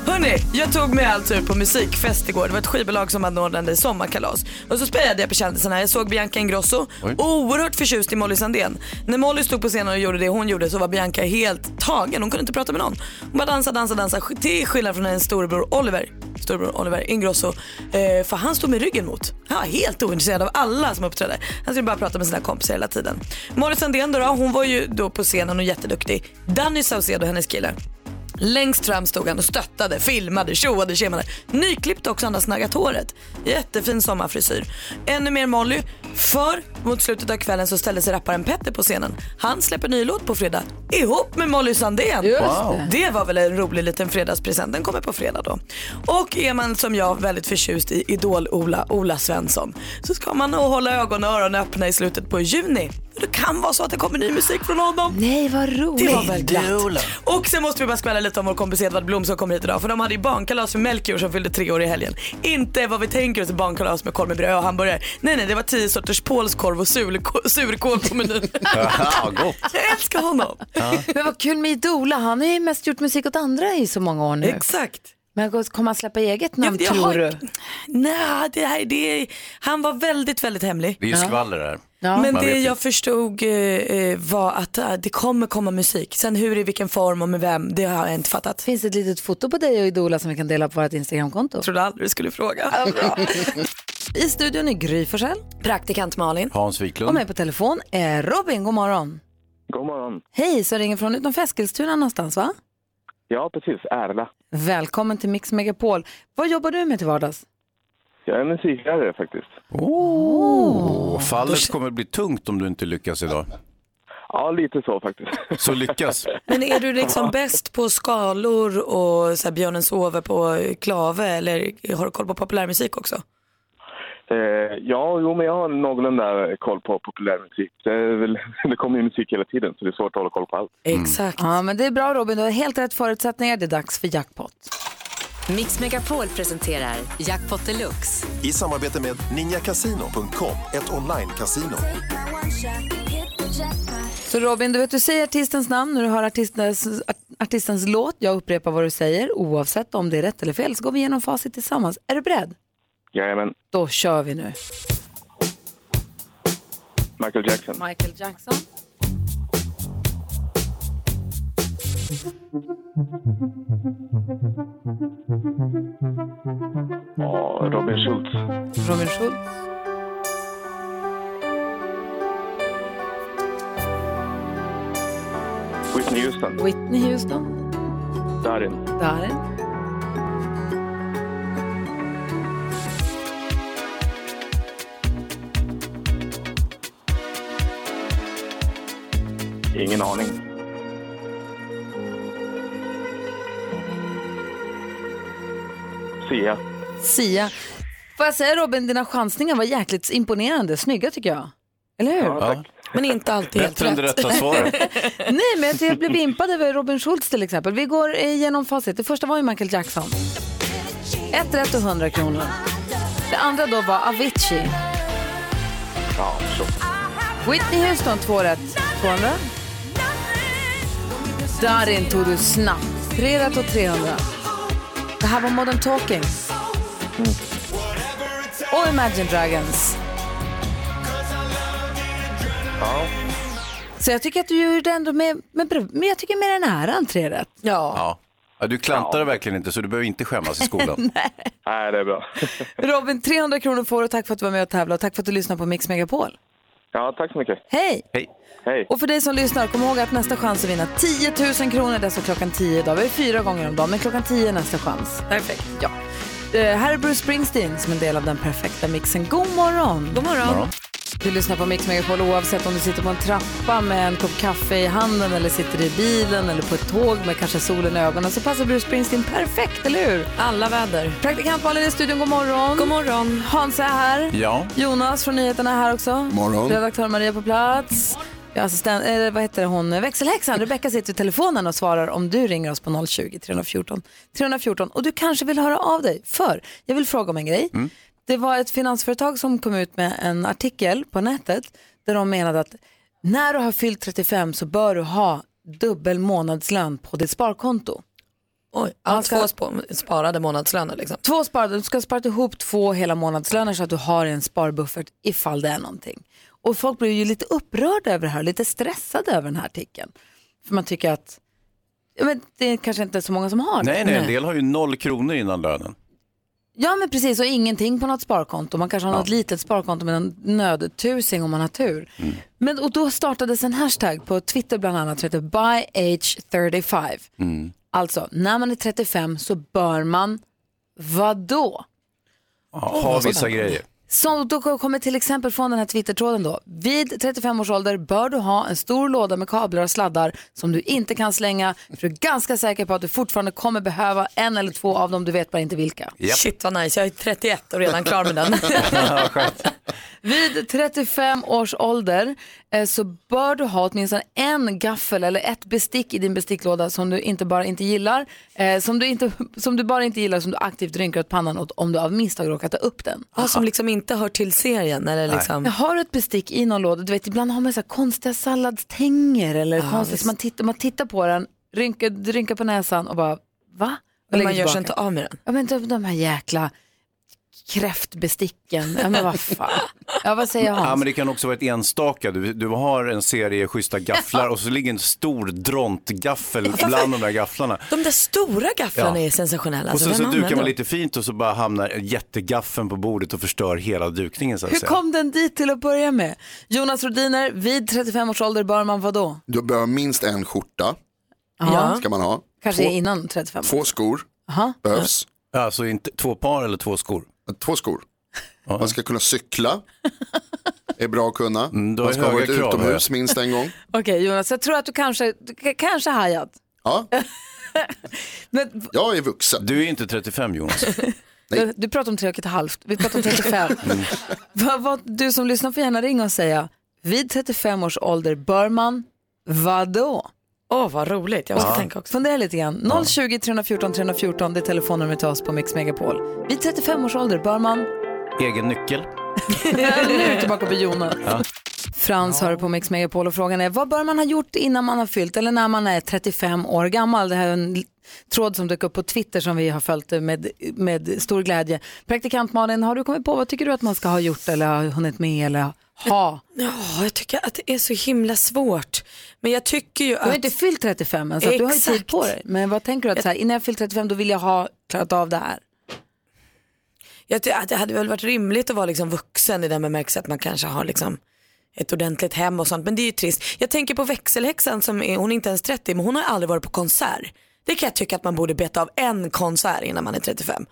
[SPEAKER 3] Hörni, jag tog mig alltså ut på musikfest igår. Det var ett skivbolag som anordnade sommarkalas. Och så spejade jag på kändisarna. Jag såg Bianca Ingrosso, oerhört förtjust i Molly Sandén. När Molly stod på scenen och gjorde det hon gjorde så var Bianca helt tagen. Hon kunde inte prata med någon. Hon bara dansade, dansade, dansade. Till skillnad från hennes storebror Oliver, storebror Oliver Ingrosso. Eh, för han stod med ryggen mot. Han var helt ointresserad av alla som uppträdde. Han skulle bara prata med sina kompisar hela tiden. Molly Sandén då, då hon var ju då på scenen och jätteduktig. Danny Saucedo, hennes kille. Längst fram stod han och stöttade, filmade, tjoade, tjemade. Nyklippt också, han har snaggat håret. Jättefin sommarfrisyr. Ännu mer Molly, för mot slutet av kvällen så ställde sig rapparen Petter på scenen. Han släpper ny låt på fredag, ihop med Molly Sandén.
[SPEAKER 2] Wow.
[SPEAKER 3] Det var väl en rolig liten fredagspresent. Den kommer på fredag då. Och är man som jag väldigt förtjust i Idol-Ola, Ola Svensson, så ska man nog hålla ögon och öron öppna i slutet på juni. För det kan vara så att det kommer ny musik från honom.
[SPEAKER 1] Nej, vad roligt.
[SPEAKER 3] Det var väl glatt. Och sen måste vi bara skvallra lite om vår kompis Edvard Blom som kom hit idag. För de hade ju barnkalas för Melchior som fyllde tre år i helgen. Inte vad vi tänker oss barnkalas med korv med bröd och hamburgare. Nej, nej, det var tio sorters polskorv och sul- surkål på
[SPEAKER 1] [LAUGHS]
[SPEAKER 3] menyn.
[SPEAKER 2] Ja, gott.
[SPEAKER 3] Jag älskar honom.
[SPEAKER 1] Men vad kul med Idola, han har ju mest gjort musik åt andra i så många år nu.
[SPEAKER 3] Exakt.
[SPEAKER 1] Men kommer han släppa eget namn
[SPEAKER 3] Jag- jag
[SPEAKER 1] tror
[SPEAKER 3] har-
[SPEAKER 1] du?
[SPEAKER 3] Nej, det här, det är... han var väldigt, väldigt hemlig.
[SPEAKER 2] Det är ju skvaller här.
[SPEAKER 1] Ja.
[SPEAKER 3] Men
[SPEAKER 2] Man
[SPEAKER 3] det
[SPEAKER 2] vet ju.
[SPEAKER 3] jag förstod eh, eh, var att eh, det kommer komma musik. Sen hur, i vilken form och med vem, det har jag inte fattat.
[SPEAKER 1] finns ett litet foto på dig och Idola som vi kan dela på vårt Instagramkonto.
[SPEAKER 3] Jag trodde aldrig du skulle fråga.
[SPEAKER 1] I studion är Gry Forssell.
[SPEAKER 3] [LAUGHS] Praktikant Malin.
[SPEAKER 2] Hans
[SPEAKER 1] Och
[SPEAKER 2] Wiklund.
[SPEAKER 1] med på telefon är Robin. God morgon.
[SPEAKER 8] God morgon.
[SPEAKER 1] Hej, så ringer från utanför Eskilstuna någonstans va?
[SPEAKER 8] Ja, precis. Ärla.
[SPEAKER 1] Välkommen till Mix Megapol. Vad jobbar du med till vardags?
[SPEAKER 8] Jag är musiklärare faktiskt.
[SPEAKER 2] Och fallet kommer bli tungt om du inte lyckas idag.
[SPEAKER 8] Ja, lite så faktiskt. [LAUGHS]
[SPEAKER 2] Så lyckas.
[SPEAKER 3] Men är du liksom bäst på skalor och så här, Björnen sover på klave eller har du koll på populärmusik också?
[SPEAKER 8] Eh, ja, jo, men jag har någorlunda koll på populärmusik. Det, är väl, [LAUGHS] det kommer ju musik hela tiden, så det är svårt att hålla koll på allt.
[SPEAKER 2] Mm.
[SPEAKER 3] Exakt.
[SPEAKER 1] Ja, men det är bra Robin, du har helt rätt förutsättningar. Det är dags för jackpot.
[SPEAKER 9] Mix Megapol presenterar Jackpot Deluxe.
[SPEAKER 10] I samarbete med ninjakasino.com, ett online-casino.
[SPEAKER 1] Så Robin, du vet du säger artistens namn när du hör artistens, art- artistens låt. Jag upprepar vad du säger oavsett om det är rätt eller fel så går vi igenom facit tillsammans. Är du beredd?
[SPEAKER 8] Jajamän.
[SPEAKER 1] Då kör vi nu.
[SPEAKER 8] Michael Jackson.
[SPEAKER 1] Michael Jackson.
[SPEAKER 8] Ja, Robin Schultz.
[SPEAKER 1] Robin Schultz.
[SPEAKER 8] Whitney Houston.
[SPEAKER 1] Whitney Houston.
[SPEAKER 8] Darin.
[SPEAKER 1] Darin.
[SPEAKER 8] Ingen aning. Sia.
[SPEAKER 1] Sia. Får jag säga Robin, dina chansningar var jäkligt imponerande. Snygga tycker jag. Eller hur?
[SPEAKER 3] Men inte alltid helt
[SPEAKER 2] Bättre än det
[SPEAKER 3] rätt.
[SPEAKER 2] rätta svaret.
[SPEAKER 1] Nej, men jag, tycker jag blev impad över Robin Schultz till exempel. Vi går igenom facit. Det första var ju Michael Jackson. Ett rätt och 100 kronor. Det andra då var Avicii.
[SPEAKER 8] Ja, så.
[SPEAKER 1] Whitney Houston, två rätt. 200. Darin tog du snabbt. Tre rätt och 300. Det här var Modern Talking.
[SPEAKER 8] Mm.
[SPEAKER 1] Och Imagine Dragons.
[SPEAKER 8] Ja.
[SPEAKER 1] Så jag tycker att du gjorde ändå med, med, bra- men jag tycker med den här äran tre rätt. Ja.
[SPEAKER 2] Ja. Ja, du klantar verkligen inte så du behöver inte skämmas i skolan.
[SPEAKER 8] Nej, det är bra.
[SPEAKER 1] Robin, 300 kronor får du. Tack för att du var med och tävlade och tack för att du lyssnade på Mix Megapol.
[SPEAKER 8] Ja, tack så mycket.
[SPEAKER 1] Hej!
[SPEAKER 2] Hej.
[SPEAKER 8] Hej.
[SPEAKER 1] Och för dig som lyssnar, kom ihåg att nästa chans att vinna 10 000 kronor, det är så klockan 10 idag. Vi är fyra gånger om dagen, men klockan 10 är nästa chans. Perfekt. Ja. Eh, här är Bruce Springsteen som en del av den perfekta mixen. God morgon! God
[SPEAKER 3] morgon. morgon.
[SPEAKER 1] Du lyssnar på Mix Megapol oavsett om du sitter på en trappa med en kopp kaffe i handen eller sitter i bilen eller på ett tåg med kanske solen i ögonen så passar Bruce Springsteen perfekt, eller hur?
[SPEAKER 3] Alla väder.
[SPEAKER 1] Praktikant Malin i studion, god morgon.
[SPEAKER 3] God morgon.
[SPEAKER 1] Hans är här.
[SPEAKER 2] Ja.
[SPEAKER 1] Jonas från nyheterna är här också.
[SPEAKER 7] Morgon.
[SPEAKER 1] Redaktör Maria på plats. Ja, Assistent, eh, vad heter hon? Växelhäxan Rebecka sitter vid telefonen och svarar om du ringer oss på 020 314 314 och du kanske vill höra av dig för jag vill fråga om en grej. Det var ett finansföretag som kom ut med en artikel på nätet där de menade att när du har fyllt 35 så bör du ha dubbel månadslön på ditt sparkonto.
[SPEAKER 3] Oj, alltså två sp- sparade månadslöner liksom.
[SPEAKER 1] Två sparade, du ska spara ihop två hela månadslöner så att du har en sparbuffert ifall det är någonting. Och folk blir ju lite upprörda över det här, lite stressade över den här artikeln. För man tycker att ja, men det är kanske inte så många som har det.
[SPEAKER 2] Nej, nej, en del har ju noll kronor innan lönen.
[SPEAKER 1] Ja men precis, och ingenting på något sparkonto. Man kanske har något litet sparkonto med en nödtusing om man har tur. Men, och då startades en hashtag på Twitter bland annat som heter BuyAge35.
[SPEAKER 2] Mm.
[SPEAKER 1] Alltså, när man är 35 så bör man, vadå?
[SPEAKER 2] Ja, ha vissa grejer.
[SPEAKER 1] Så då kommer till exempel från den här twittertråden då. Vid 35 års ålder bör du ha en stor låda med kablar och sladdar som du inte kan slänga. För du är ganska säker på att du fortfarande kommer behöva en eller två av dem, du vet bara inte vilka.
[SPEAKER 3] Shit vad nice, jag är 31 och redan klar med
[SPEAKER 2] [LAUGHS]
[SPEAKER 3] den.
[SPEAKER 1] Vid 35 års ålder eh, så bör du ha åtminstone en gaffel eller ett bestick i din besticklåda som du inte bara inte gillar, eh, som, du inte, som du bara inte gillar som du aktivt rynkar åt pannan åt om du av misstag råkar ta upp den.
[SPEAKER 3] Ja, som liksom inte hör till serien eller liksom.
[SPEAKER 1] Jag har ett bestick i någon låda, du vet ibland har man så här konstiga salladstänger eller konstigt, man tittar, man tittar på den, rynkar, rynkar på näsan och bara va? Och
[SPEAKER 3] Men
[SPEAKER 1] lägger
[SPEAKER 3] man gör sig
[SPEAKER 1] tillbaka.
[SPEAKER 3] inte av med den. [LAUGHS]
[SPEAKER 1] Ja men de, de här jäkla kräftbesticken, ja men vad fan. Ja, vad säger Hans?
[SPEAKER 2] Ja, men det kan också vara ett enstaka. Du, du har en serie schyssta gafflar och så ligger en stor drontgaffel bland de där gafflarna.
[SPEAKER 3] De där stora gafflarna
[SPEAKER 2] Ja.
[SPEAKER 3] är sensationella.
[SPEAKER 2] och
[SPEAKER 3] Alltså,
[SPEAKER 2] sen så
[SPEAKER 3] vem
[SPEAKER 2] dukar
[SPEAKER 3] använder
[SPEAKER 2] man
[SPEAKER 3] dem?
[SPEAKER 2] lite fint och så bara hamnar jättegaffeln på bordet och förstör hela dukningen så att
[SPEAKER 1] Hur
[SPEAKER 2] säga.
[SPEAKER 1] kom den dit till att börja med? Jonas Rodiner, vid 35 års ålder bör man vadå?
[SPEAKER 7] Du behöver minst en skjorta.
[SPEAKER 1] Ja.
[SPEAKER 7] Ska man ha.
[SPEAKER 1] Kanske
[SPEAKER 7] två,
[SPEAKER 1] innan 35 år.
[SPEAKER 7] två skor
[SPEAKER 1] Aha.
[SPEAKER 7] behövs.
[SPEAKER 2] Alltså inte två par eller två skor?
[SPEAKER 7] Eh, Två skor. Man ska kunna cykla. är bra att kunna.
[SPEAKER 2] då Mm. är
[SPEAKER 7] man ska ha varit
[SPEAKER 2] höga krav,
[SPEAKER 7] utomhus
[SPEAKER 2] hör
[SPEAKER 7] minst en gång.
[SPEAKER 1] Okej Jonas, jag tror att du kanske, du k- kanske hajat.
[SPEAKER 7] Ja. Jag är vuxen.
[SPEAKER 2] Du är inte 35 Jonas.
[SPEAKER 1] [LAUGHS] Du, du pratar om tre och ett halvt, vi pratar
[SPEAKER 3] [LAUGHS]
[SPEAKER 1] om 35.
[SPEAKER 3] Mm.
[SPEAKER 1] [LAUGHS] vad, vad, du som lyssnar får gärna ringa och säga, vid 35 års ålder bör man vadå?
[SPEAKER 3] Åh, vad roligt. Jag måste tänka också.
[SPEAKER 1] Fundera lite grann. 020 314 314, det är telefonnumret till oss på Mix Megapol. Vid 35 års ålder bör man...
[SPEAKER 2] Egen nyckel.
[SPEAKER 1] nu är vi tillbaka på Jonas.
[SPEAKER 2] Ja.
[SPEAKER 1] Frans hör på Mix Megapol och frågan är vad bör man ha gjort innan man har fyllt eller när man är 35 år gammal? Det här är en l- tråd som dök upp på Twitter som vi har följt med, med stor glädje. Praktikant Malin, har du kommit på vad tycker du att man ska ha gjort eller har hunnit med eller ha?
[SPEAKER 3] Ja, jag tycker att det är så himla svårt. Men jag tycker ju
[SPEAKER 1] Du
[SPEAKER 3] att...
[SPEAKER 1] har inte fyllt 35 än så att du har ju tid
[SPEAKER 3] Exakt.
[SPEAKER 1] på dig. Men vad tänker du att så här, innan jag fyllt 35 då vill jag ha klarat av det här?
[SPEAKER 3] Jag tycker att det hade väl varit rimligt att vara liksom vuxen i den bemärkelsen att man kanske har liksom ett ordentligt hem och sånt. Men det är ju trist. Jag tänker på växelhäxan som är, hon är inte ens 30 men hon har aldrig varit på konsert. Det kan jag tycka att man borde beta av en konsert innan man är 35.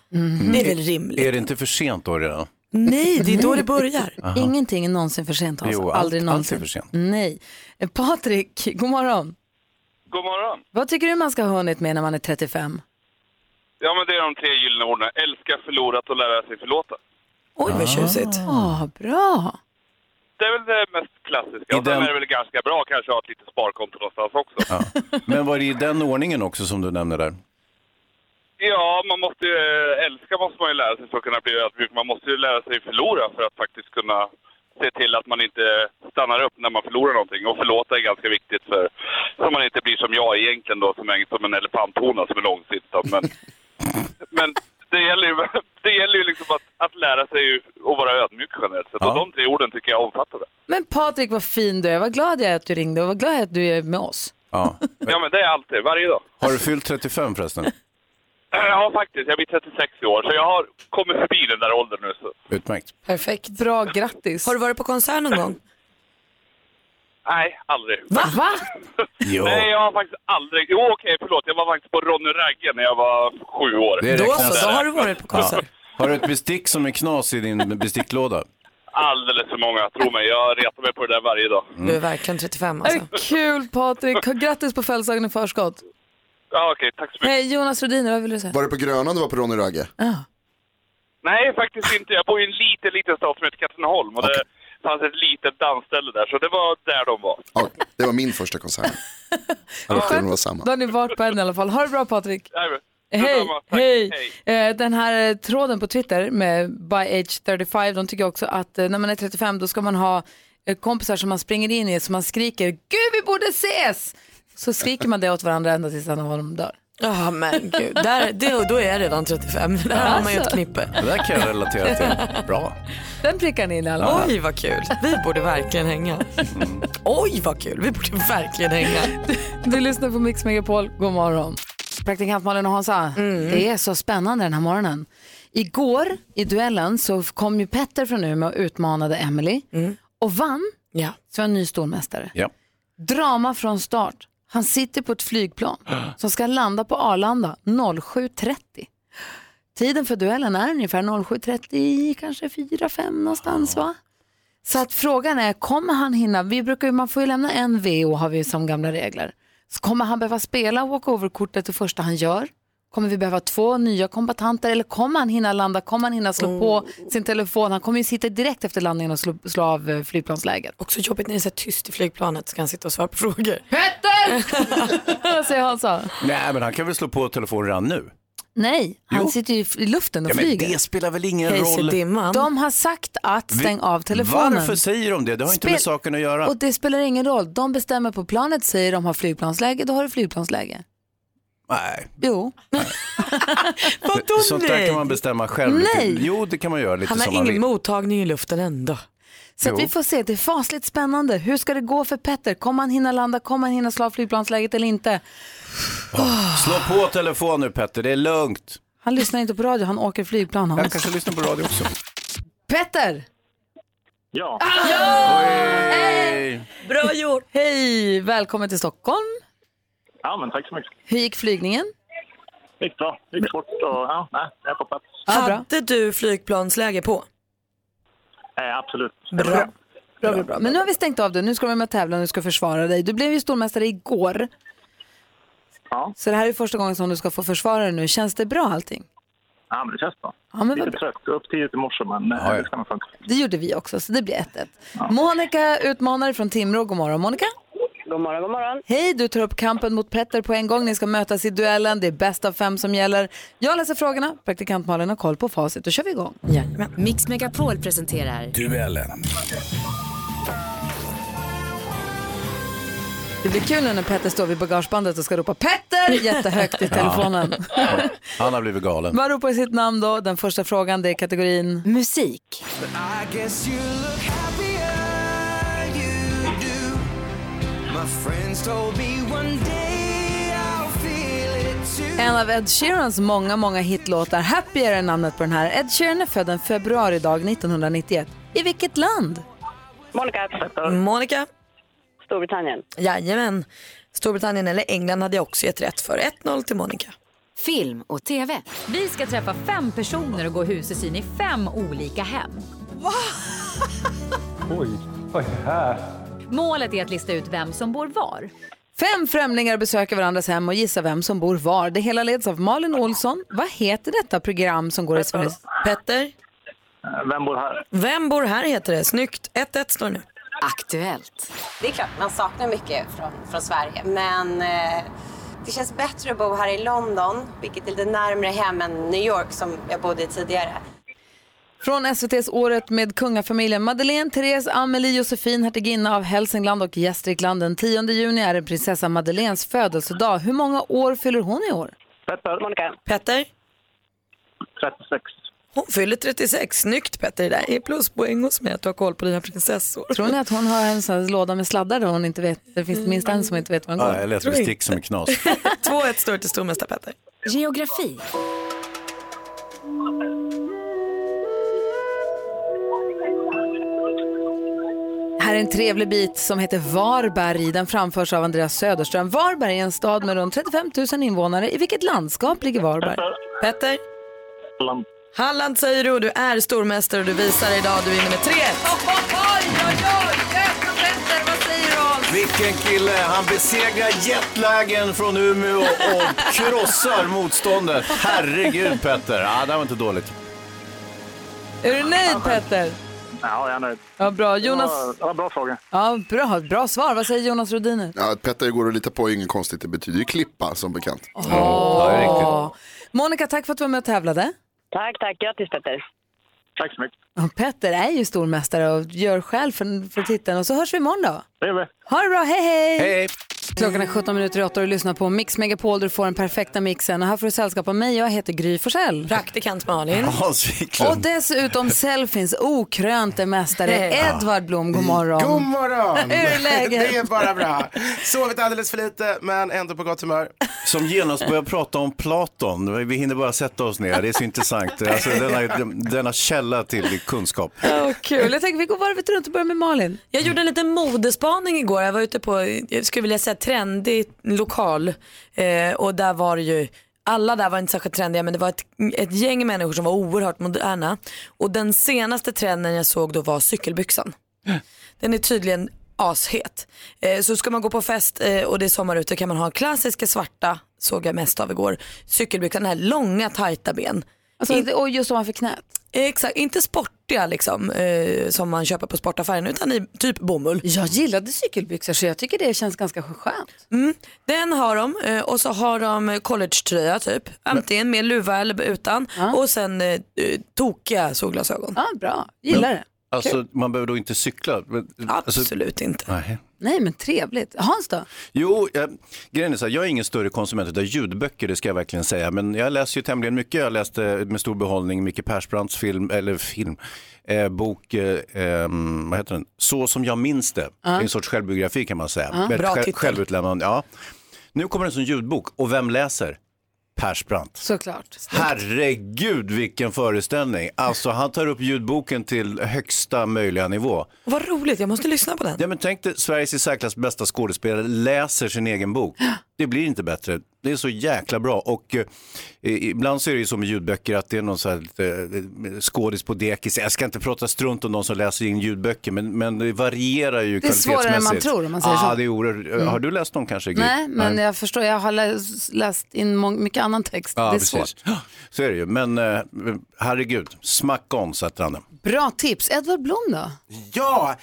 [SPEAKER 3] Det är väl rimligt.
[SPEAKER 2] Är det inte för sent då redan?
[SPEAKER 3] Nej, det är då det börjar.
[SPEAKER 2] Aha.
[SPEAKER 1] Ingenting är någonsin för sent alltså.
[SPEAKER 2] Jo, allt-
[SPEAKER 1] Aldrig
[SPEAKER 2] allt är
[SPEAKER 1] någonsin.
[SPEAKER 2] för sent.
[SPEAKER 1] Nej. Eh, Patrik, [LAUGHS] god morgon.
[SPEAKER 11] God morgon.
[SPEAKER 1] Vad tycker du man ska ha hunnit med när man är 35?
[SPEAKER 11] Ja, men det är de tre gyllene orden. Älska, förlorat och lära sig förlåta.
[SPEAKER 3] Oj, vad tjusigt.
[SPEAKER 1] Ah, bra.
[SPEAKER 11] Det är väl det mest klassiska. Och sen är det väl ganska bra kanske att ha ett litet sparkonto någonstans också.
[SPEAKER 2] Ja. Men var det i den ordningen också som du nämnde där?
[SPEAKER 11] Ja, man måste ju eh, älska måste man ju lära sig för att kunna bli ödmjuk. Man måste ju lära sig förlora för att faktiskt kunna se till att man inte stannar upp när man förlorar någonting. Och förlåta är ganska viktigt för så man inte blir som jag egentligen då, som är som en elefanthona som är långsintad. Men, men det gäller ju, [LAUGHS] det gäller ju liksom att, att lära sig att vara ödmjuk generellt sett. Och de tre orden tycker jag omfattar det.
[SPEAKER 1] Men Patrik, vad fin du är. Vad glad jag är att du ringde och vad glad jag är att du är med oss.
[SPEAKER 2] Ja.
[SPEAKER 11] Ja, men det är alltid, varje dag. [CLEARS THROAT]
[SPEAKER 2] Har du fyllt 35 förresten?
[SPEAKER 11] Ja, faktiskt. Jag blir 36 i år, så jag har kommit förbi den där åldern nu. Så.
[SPEAKER 2] Utmärkt.
[SPEAKER 1] Perfekt. Bra, grattis.
[SPEAKER 3] Har du varit på konsert någon gång?
[SPEAKER 11] Nej, aldrig.
[SPEAKER 1] Va?
[SPEAKER 2] Jo.
[SPEAKER 11] Nej, jag har faktiskt aldrig... Jo, okej, förlåt. Jag var faktiskt på Ronny Ragge när jag var sju år.
[SPEAKER 2] Har du ett bestick som är knas i din besticklåda?
[SPEAKER 11] Alldeles för många, tro mig. Jag retar mig på det där varje dag.
[SPEAKER 3] Du är verkligen 35 alltså.
[SPEAKER 1] Är Kul Patrik, grattis på födelsedagen i förskott.
[SPEAKER 11] Ja, okej. Tack så mycket.
[SPEAKER 1] Hej, Jonas Rhodiner, vad vill du säga?
[SPEAKER 7] Var det på Grönan du var på Ronny Ragge?
[SPEAKER 11] Nej, faktiskt inte. Jag bor i en liten, liten stad som heter Katrineholm och det fanns ett litet dansställe där, så det var där de var.
[SPEAKER 7] Ja, det var min första konsert. Alla sjuorna var samma.
[SPEAKER 1] Då har ni varit på en i alla fall. Ha det bra Patrik.
[SPEAKER 11] Jajamän.
[SPEAKER 1] Hej,
[SPEAKER 11] Detsamma. Tack.
[SPEAKER 1] hej. Eh, Den här eh, tråden på Twitter med by age 35, de tycker också att eh, när man är 35 då ska man ha eh, kompisar som man springer in i som man skriker Gud vi borde ses! Så skriker man det åt varandra ända tills en av dem dör.
[SPEAKER 3] Ja men gud, där, det, då är jag redan 35. [LAUGHS] Där har man ju ett
[SPEAKER 1] Alltså.
[SPEAKER 3] knippe.
[SPEAKER 2] Det där kan jag relatera till. Bra.
[SPEAKER 1] Den prickar ni in i alla fall.
[SPEAKER 3] Oj vad kul, vi borde verkligen hänga.
[SPEAKER 2] Mm.
[SPEAKER 3] Oj vad kul, vi borde verkligen hänga.
[SPEAKER 1] Du lyssnar på Mix Megapol. God morgon. Mm. Praktikant Malin och Hansa, det är så spännande den här morgonen. Igår i duellen så kom ju Petter från Umeå och utmanade Emily och vann.
[SPEAKER 3] Ja.
[SPEAKER 1] Så var en ny stormästare.
[SPEAKER 2] Ja.
[SPEAKER 1] Drama från start. Han sitter på ett flygplan som ska landa på Arlanda 07.30. Tiden för duellen är ungefär 07.30, kanske 4-5 någonstans va? Så att frågan är, kommer han hinna? Vi brukar, ju- man får ju lämna en VO har vi ju som gamla regler. Så kommer han behöva spela walkover-kortet det första han gör? Kommer vi behöva två nya kombatanter eller kommer han hinna landa? Kommer han hinna slå på sin telefon? Han kommer ju sitta direkt efter landningen och slå, slå av eh, flygplansläget.
[SPEAKER 3] Också jobbigt när det är så här tyst i flygplanet så kan han sitta och svara på frågor.
[SPEAKER 1] [LAUGHS] Petter! Säger Hansa.
[SPEAKER 2] Nej, men han kan väl slå på telefonen redan nu?
[SPEAKER 1] Nej, han sitter ju i luften och
[SPEAKER 2] Ja, men
[SPEAKER 1] flyger.
[SPEAKER 2] det spelar väl ingen
[SPEAKER 1] Casey
[SPEAKER 2] roll.
[SPEAKER 1] Dimman. De har sagt att stäng av telefonen.
[SPEAKER 2] Varför säger de det? Det har inte med
[SPEAKER 1] Spel-
[SPEAKER 2] saken att göra.
[SPEAKER 1] Och det spelar ingen roll. De bestämmer på planet, säger de har flygplansläge, då har du flygplansläge.
[SPEAKER 2] Nej.
[SPEAKER 1] Jo.
[SPEAKER 2] Sånt där kan man bestämma själv.
[SPEAKER 1] Nej.
[SPEAKER 2] Lite. Jo, det kan man göra lite
[SPEAKER 3] Han har
[SPEAKER 2] som
[SPEAKER 3] ingen
[SPEAKER 2] man vill.
[SPEAKER 3] mottagning i luften ändå.
[SPEAKER 1] Så att
[SPEAKER 2] Jo.
[SPEAKER 1] vi får se, det är fasligt spännande. Hur ska det gå för Petter? Kommer han hinna landa? Kommer han hinna slå av flygplansläget eller inte?
[SPEAKER 2] Slå på telefon nu Petter, det är lugnt.
[SPEAKER 1] Han lyssnar inte på radio, han åker flygplan. Han.
[SPEAKER 2] Jag kanske lyssnar på radio också.
[SPEAKER 1] Petter!
[SPEAKER 6] Ja.
[SPEAKER 3] Bra gjort!
[SPEAKER 1] Hej! Välkommen till Stockholm.
[SPEAKER 6] Ja, men tack så mycket.
[SPEAKER 1] Hur gick flygningen?
[SPEAKER 6] Det gick bra. Det gick fort och ja, nej, jag är på plats.
[SPEAKER 3] Hade du flygplansläge på?
[SPEAKER 6] Eh, absolut.
[SPEAKER 3] Bra.
[SPEAKER 1] Bra, bra, bra. Men nu har vi stängt av det. Nu ska du vara med och tävla och du ska försvara dig. Du blev ju stormästare igår.
[SPEAKER 6] Ja.
[SPEAKER 1] Så det här är första gången som du ska få försvara dig nu. Känns det bra allting?
[SPEAKER 6] Ja, men det känns bra.
[SPEAKER 1] Ja, men vad
[SPEAKER 6] Lite trött. Upp tidigt i morse, men eh, det ska nog funka.
[SPEAKER 1] Det gjorde vi också, så det blir 1-1. Monica utmanare från Timrå. God morgon, Monica.
[SPEAKER 5] God morgon, god morgon.
[SPEAKER 1] Hej, du tar upp kampen mot Petter på en gång. Ni ska mötas i duellen. Det är bäst av fem som gäller. Jag läser frågorna, praktikant Malin har koll på facit. Då kör vi igång.
[SPEAKER 9] Jajamän. Mix Megapol presenterar
[SPEAKER 12] Duellen.
[SPEAKER 1] Det blir kul nu när Petter står vid bagagebandet och ska ropa Petter
[SPEAKER 6] [LAUGHS]
[SPEAKER 1] jättehögt i telefonen.
[SPEAKER 2] Ja. Han har blivit galen.
[SPEAKER 1] Man ropar sitt namn då. Den första frågan, det är kategorin musik.
[SPEAKER 4] I guess you look happier, you do. My friends told me one day I'll feel it too.
[SPEAKER 1] En av Ed Sheerans många, många hitlåtar, Happier är namnet på den här. Ed Sheeran är född en februaridag 1991. I vilket land?
[SPEAKER 3] Monica. Monica.
[SPEAKER 5] Storbritannien.
[SPEAKER 3] Jajamän. Storbritannien eller England hade jag också gett rätt för. 1-0 till Monica.
[SPEAKER 9] film och tv. Vi ska träffa fem personer och gå husesyn i fem olika hem.
[SPEAKER 6] Oj, vad är det här?
[SPEAKER 9] Målet är att lista ut vem som bor var.
[SPEAKER 1] Fem främlingar besöker varandras hem och gissar vem som bor var. Det hela leds av Malin Olsson. Vad heter detta program som går i Sveriges...
[SPEAKER 3] Petter?
[SPEAKER 6] Vem bor här?
[SPEAKER 3] Vem bor här heter det. Snyggt. 1-1 står det nu.
[SPEAKER 13] Aktuellt. Det är klart, man saknar mycket från, från Sverige. Men eh, det känns bättre att bo här i London, vilket är lite närmare hem än New York som jag bodde i tidigare.
[SPEAKER 1] Från SVTs Året med kungafamiljen Madeleine, Therese, Amelie, Josefin, hertiginna av Hälsingland och Gästrikland. Den 10 juni är det prinsessa Madeleines födelsedag. Hur många år fyller hon i år?
[SPEAKER 3] Petter. Monica. Petter?
[SPEAKER 6] 36.
[SPEAKER 3] Hon fyller 36. Snyggt Petter. Det där är pluspoäng hos mig att du har koll på dina prinsessor.
[SPEAKER 1] Tror ni att hon har en sån här låda med sladdar där hon inte vet? Det finns minst en som inte vet var den
[SPEAKER 2] Ja, jag
[SPEAKER 1] går.
[SPEAKER 2] lät
[SPEAKER 1] Tror
[SPEAKER 2] mig
[SPEAKER 1] inte.
[SPEAKER 2] stick som en [LAUGHS] knas.
[SPEAKER 3] [LAUGHS] 2-1 står till stormästare Petter.
[SPEAKER 9] Geografi.
[SPEAKER 1] Här är en trevlig bit som heter Varberg. Den framförs av Andreas Söderström. Varberg är en stad med runt 35 000 invånare. I vilket landskap ligger Varberg?
[SPEAKER 3] Petter? Halland. Halland säger du och du är stormästare och du visar idag. Du vinner med 3-1.
[SPEAKER 2] Vilken kille! Han besegrar jetlagen från Umeå och krossar motståndet. Herregud Petter, ja, det här var inte dåligt.
[SPEAKER 1] Är du nöjd Petter?
[SPEAKER 6] Ja, jag är nöjd.
[SPEAKER 1] Ja, bra.
[SPEAKER 6] Det var,
[SPEAKER 1] Jonas...
[SPEAKER 6] det var bra fråga.
[SPEAKER 1] Ja, bra, bra svar. Vad säger Jonas Rodiner?
[SPEAKER 7] Ja, att Petter går att lita på är inget konstigt. Det betyder ju klippa som bekant.
[SPEAKER 1] Ja. Monica, tack för att du var med och tävlade.
[SPEAKER 5] Tack, tack. Grattis Petter. Tack så mycket.
[SPEAKER 1] Ja, Petter är ju stormästare och gör skäl för, för titeln. Och så hörs vi imorgon då.
[SPEAKER 6] Det gör vi.
[SPEAKER 1] Ha det bra, hej hej!
[SPEAKER 2] Hej!
[SPEAKER 1] Klockan är 17 minuter i 8 och du lyssnar på Mix Megapol där du får den perfekta mixen. Och här får du sällskap av mig, jag heter Gry Forssell.
[SPEAKER 3] Praktikant Malin.
[SPEAKER 2] Hans
[SPEAKER 1] Och dessutom selfies, okrönte mästare
[SPEAKER 14] Ja.
[SPEAKER 1] Edvard Blom, god morgon.
[SPEAKER 14] God morgon!
[SPEAKER 1] [LAUGHS] Hur är läget?
[SPEAKER 14] Det är bara bra. Sovit alldeles för lite, men ändå på gott humör.
[SPEAKER 2] Som genast börjar prata om Platon. Vi hinner bara sätta oss ner, det är så intressant. Alltså, denna, denna källa till kunskap.
[SPEAKER 1] Kul, jag tänker vi går varvet runt och börjar med Malin.
[SPEAKER 3] Jag gjorde en liten modespaning igår. Jag var ute på, jag skulle vilja säga trendig lokal. Eh, och där var det ju, alla där var inte särskilt trendiga men det var ett, ett gäng människor som var oerhört moderna. Och den senaste trenden jag såg då var cykelbyxan. Den är tydligen ashet. Eh, så ska man gå på fest eh, och det är sommar ute kan man ha klassiska svarta, såg jag mest av igår, cykelbyxan, den här långa tajta ben.
[SPEAKER 1] Alltså, det- och just ovanför knät?
[SPEAKER 3] Exakt, inte sportiga liksom eh, som man köper på sportaffären utan i typ bomull.
[SPEAKER 1] Jag gillade cykelbyxor så jag tycker det känns ganska skönt.
[SPEAKER 3] Mm, den har de eh, och så har de eh, collegetröja typ. Antingen med luva eller utan. Och sen eh, eh, tokiga solglasögon.
[SPEAKER 1] Ja, bra. Gillar det.
[SPEAKER 2] Alltså, man behöver då inte cykla? Men- alltså-
[SPEAKER 3] Absolut inte.
[SPEAKER 2] Nej.
[SPEAKER 1] Nej, men trevligt. Hans då?
[SPEAKER 2] Jo, eh, grejen är så här, jag är ingen större konsument av ljudböcker, det ska jag verkligen säga. Men jag läser ju tämligen mycket. Jag läste med stor behållning Micke Persbrandts film, eller film, eh, bok, eh, eh, vad heter den? Så som jag minns det.
[SPEAKER 12] Ja.
[SPEAKER 2] En sorts självbiografi kan man säga.
[SPEAKER 12] Ja,
[SPEAKER 2] Med ett
[SPEAKER 12] bra
[SPEAKER 2] själv-
[SPEAKER 12] titel.
[SPEAKER 2] Självutlämnande, ja. Nu kommer den som ljudbok, och vem läser? Persbrandt.
[SPEAKER 1] Såklart.
[SPEAKER 2] Herregud vilken föreställning. Alltså han tar upp ljudboken till högsta möjliga nivå.
[SPEAKER 3] Vad roligt, jag måste lyssna på den.
[SPEAKER 2] Ja, men tänk dig Sveriges i särklass bästa skådespelare läser sin egen bok. Det blir inte bättre. Det är så jäkla bra. Och eh, ibland så är det ju som med ljudböcker att det är någon så här lite, eh, skådis på dekis. Jag ska inte prata strunt om de som läser in ljudböcker men, men det varierar ju
[SPEAKER 1] Det är svårare än man
[SPEAKER 2] kvalitetsmässigt.
[SPEAKER 1] tror, om man säger
[SPEAKER 2] ah,
[SPEAKER 1] så.
[SPEAKER 2] Det är oerhört.
[SPEAKER 1] Mm.
[SPEAKER 2] Har du läst dem kanske? Gry?
[SPEAKER 1] Nej, men jag förstår. Jag har läst, läst in mång- mycket annan text.
[SPEAKER 2] Ja,
[SPEAKER 1] det är
[SPEAKER 2] precis.
[SPEAKER 1] svårt.
[SPEAKER 2] Så är det ju. Men eh, herregud, smack on satte han den.
[SPEAKER 1] Bra tips. Edvard Blom då?
[SPEAKER 14] Ja,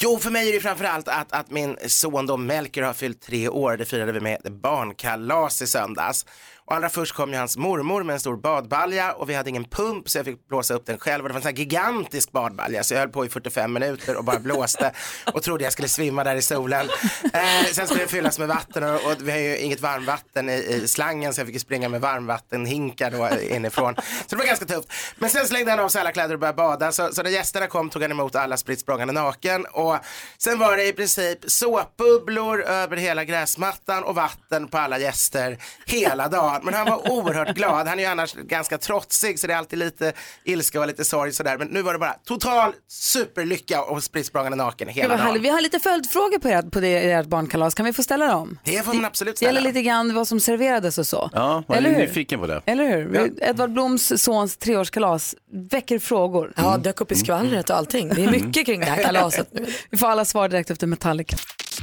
[SPEAKER 14] jo för mig är det framförallt att, att min son då Melker har fyllt tre år. Det firade vi med ett barnkalas i söndags. Och allra först kom ju hans mormor med en stor badbalja och vi hade ingen pump så jag fick blåsa upp den själv. Och det var en sån här gigantisk badbalja så jag höll på i 45 minuter och bara blåste och trodde jag skulle svimma där i solen. Eh, sen skulle det fyllas med vatten och, och vi har ju inget varmvatten i, i slangen så jag fick ju springa med varmvattenhinkar då eh, inifrån. Så det var ganska tufft. Men sen slängde han av sig alla kläder och började bada. Så, så när gästerna kom tog han emot alla spritt språngande naken. Och sen var det i princip såpbubblor över hela gräsmattan och vatten på alla gäster hela dagen. Men han var oerhört glad. Han är ju annars ganska trotsig så det är alltid lite ilska och lite sorg sådär. Men nu var det bara total superlycka och spritt språngande naken
[SPEAKER 1] Det
[SPEAKER 14] hela
[SPEAKER 1] var
[SPEAKER 14] dagen.
[SPEAKER 1] härligt. Vi har lite följdfrågor på, er, på det, ert barnkalas. Kan vi få ställa dem?
[SPEAKER 14] Det får man absolut
[SPEAKER 1] Det gäller
[SPEAKER 14] ställa.
[SPEAKER 1] lite grann vad som serverades och så.
[SPEAKER 2] Ja, man
[SPEAKER 1] Eller
[SPEAKER 2] är
[SPEAKER 1] hur?
[SPEAKER 2] nyfiken på det.
[SPEAKER 1] Eller hur? Edvard Bloms sons treårskalas väcker frågor.
[SPEAKER 3] Ja, dök upp i skvallret och allting. Det är mycket kring det här kalaset nu.
[SPEAKER 1] Vi får alla svar direkt efter Metallica.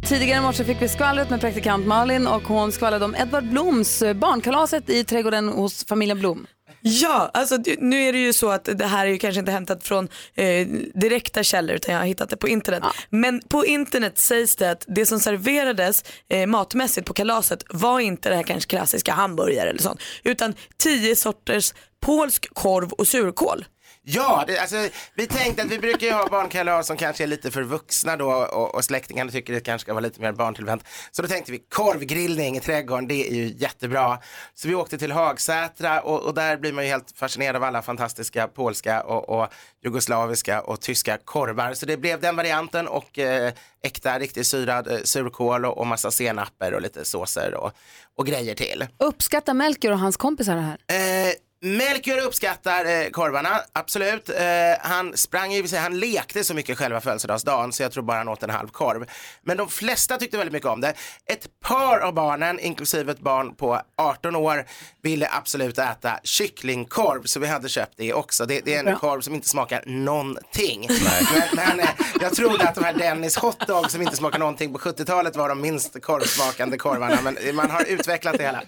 [SPEAKER 1] Tidigare i morse fick vi skvallret med praktikant Malin och hon skvallrade om Edvard Bloms eh, barnkalaset i trädgården hos familjen Blom.
[SPEAKER 3] Ja, alltså det- nu är det ju så att det här är ju kanske inte hämtat från eh, direkta källor utan jag har hittat det på internet. Men på internet sägs det att det som serverades eh, matmässigt på kalaset var inte det här kanske klassiska hamburgare eller sånt utan tio sorters polsk korv och surkål.
[SPEAKER 14] Ja, det, alltså, vi tänkte att vi brukar ju ha barnkalas som kanske är lite för vuxna då och, och släktingarna tycker det kanske ska vara lite mer barntillvänt. Så då tänkte vi korvgrillning i trädgården, det är ju jättebra. Så vi åkte till Hagsätra och, och där blir man ju helt fascinerad av alla fantastiska polska och, och jugoslaviska och tyska korvar. Så det blev den varianten och eh, äkta riktigt syrad eh, surkål och, och massa senaper och lite såser och, och grejer till.
[SPEAKER 1] Uppskattar Melker och hans kompisar det här?
[SPEAKER 14] Eh, Melker uppskattar eh, korvarna, absolut. Eh, han sprang ju, han lekte så mycket själva födelsedagsdagen så jag tror bara han åt en halv korv. Men de flesta tyckte väldigt mycket om det. Ett par av barnen, inklusive ett barn på 18 år, ville absolut äta kycklingkorv så vi hade köpt det också. Det, det är en
[SPEAKER 15] Bra.
[SPEAKER 14] korv som inte smakar någonting. Men, men eh, jag trodde att de här Dennis hotdog som inte smakar någonting på 70-talet var de minst korvsmakande korvarna men eh, man har utvecklat det hela.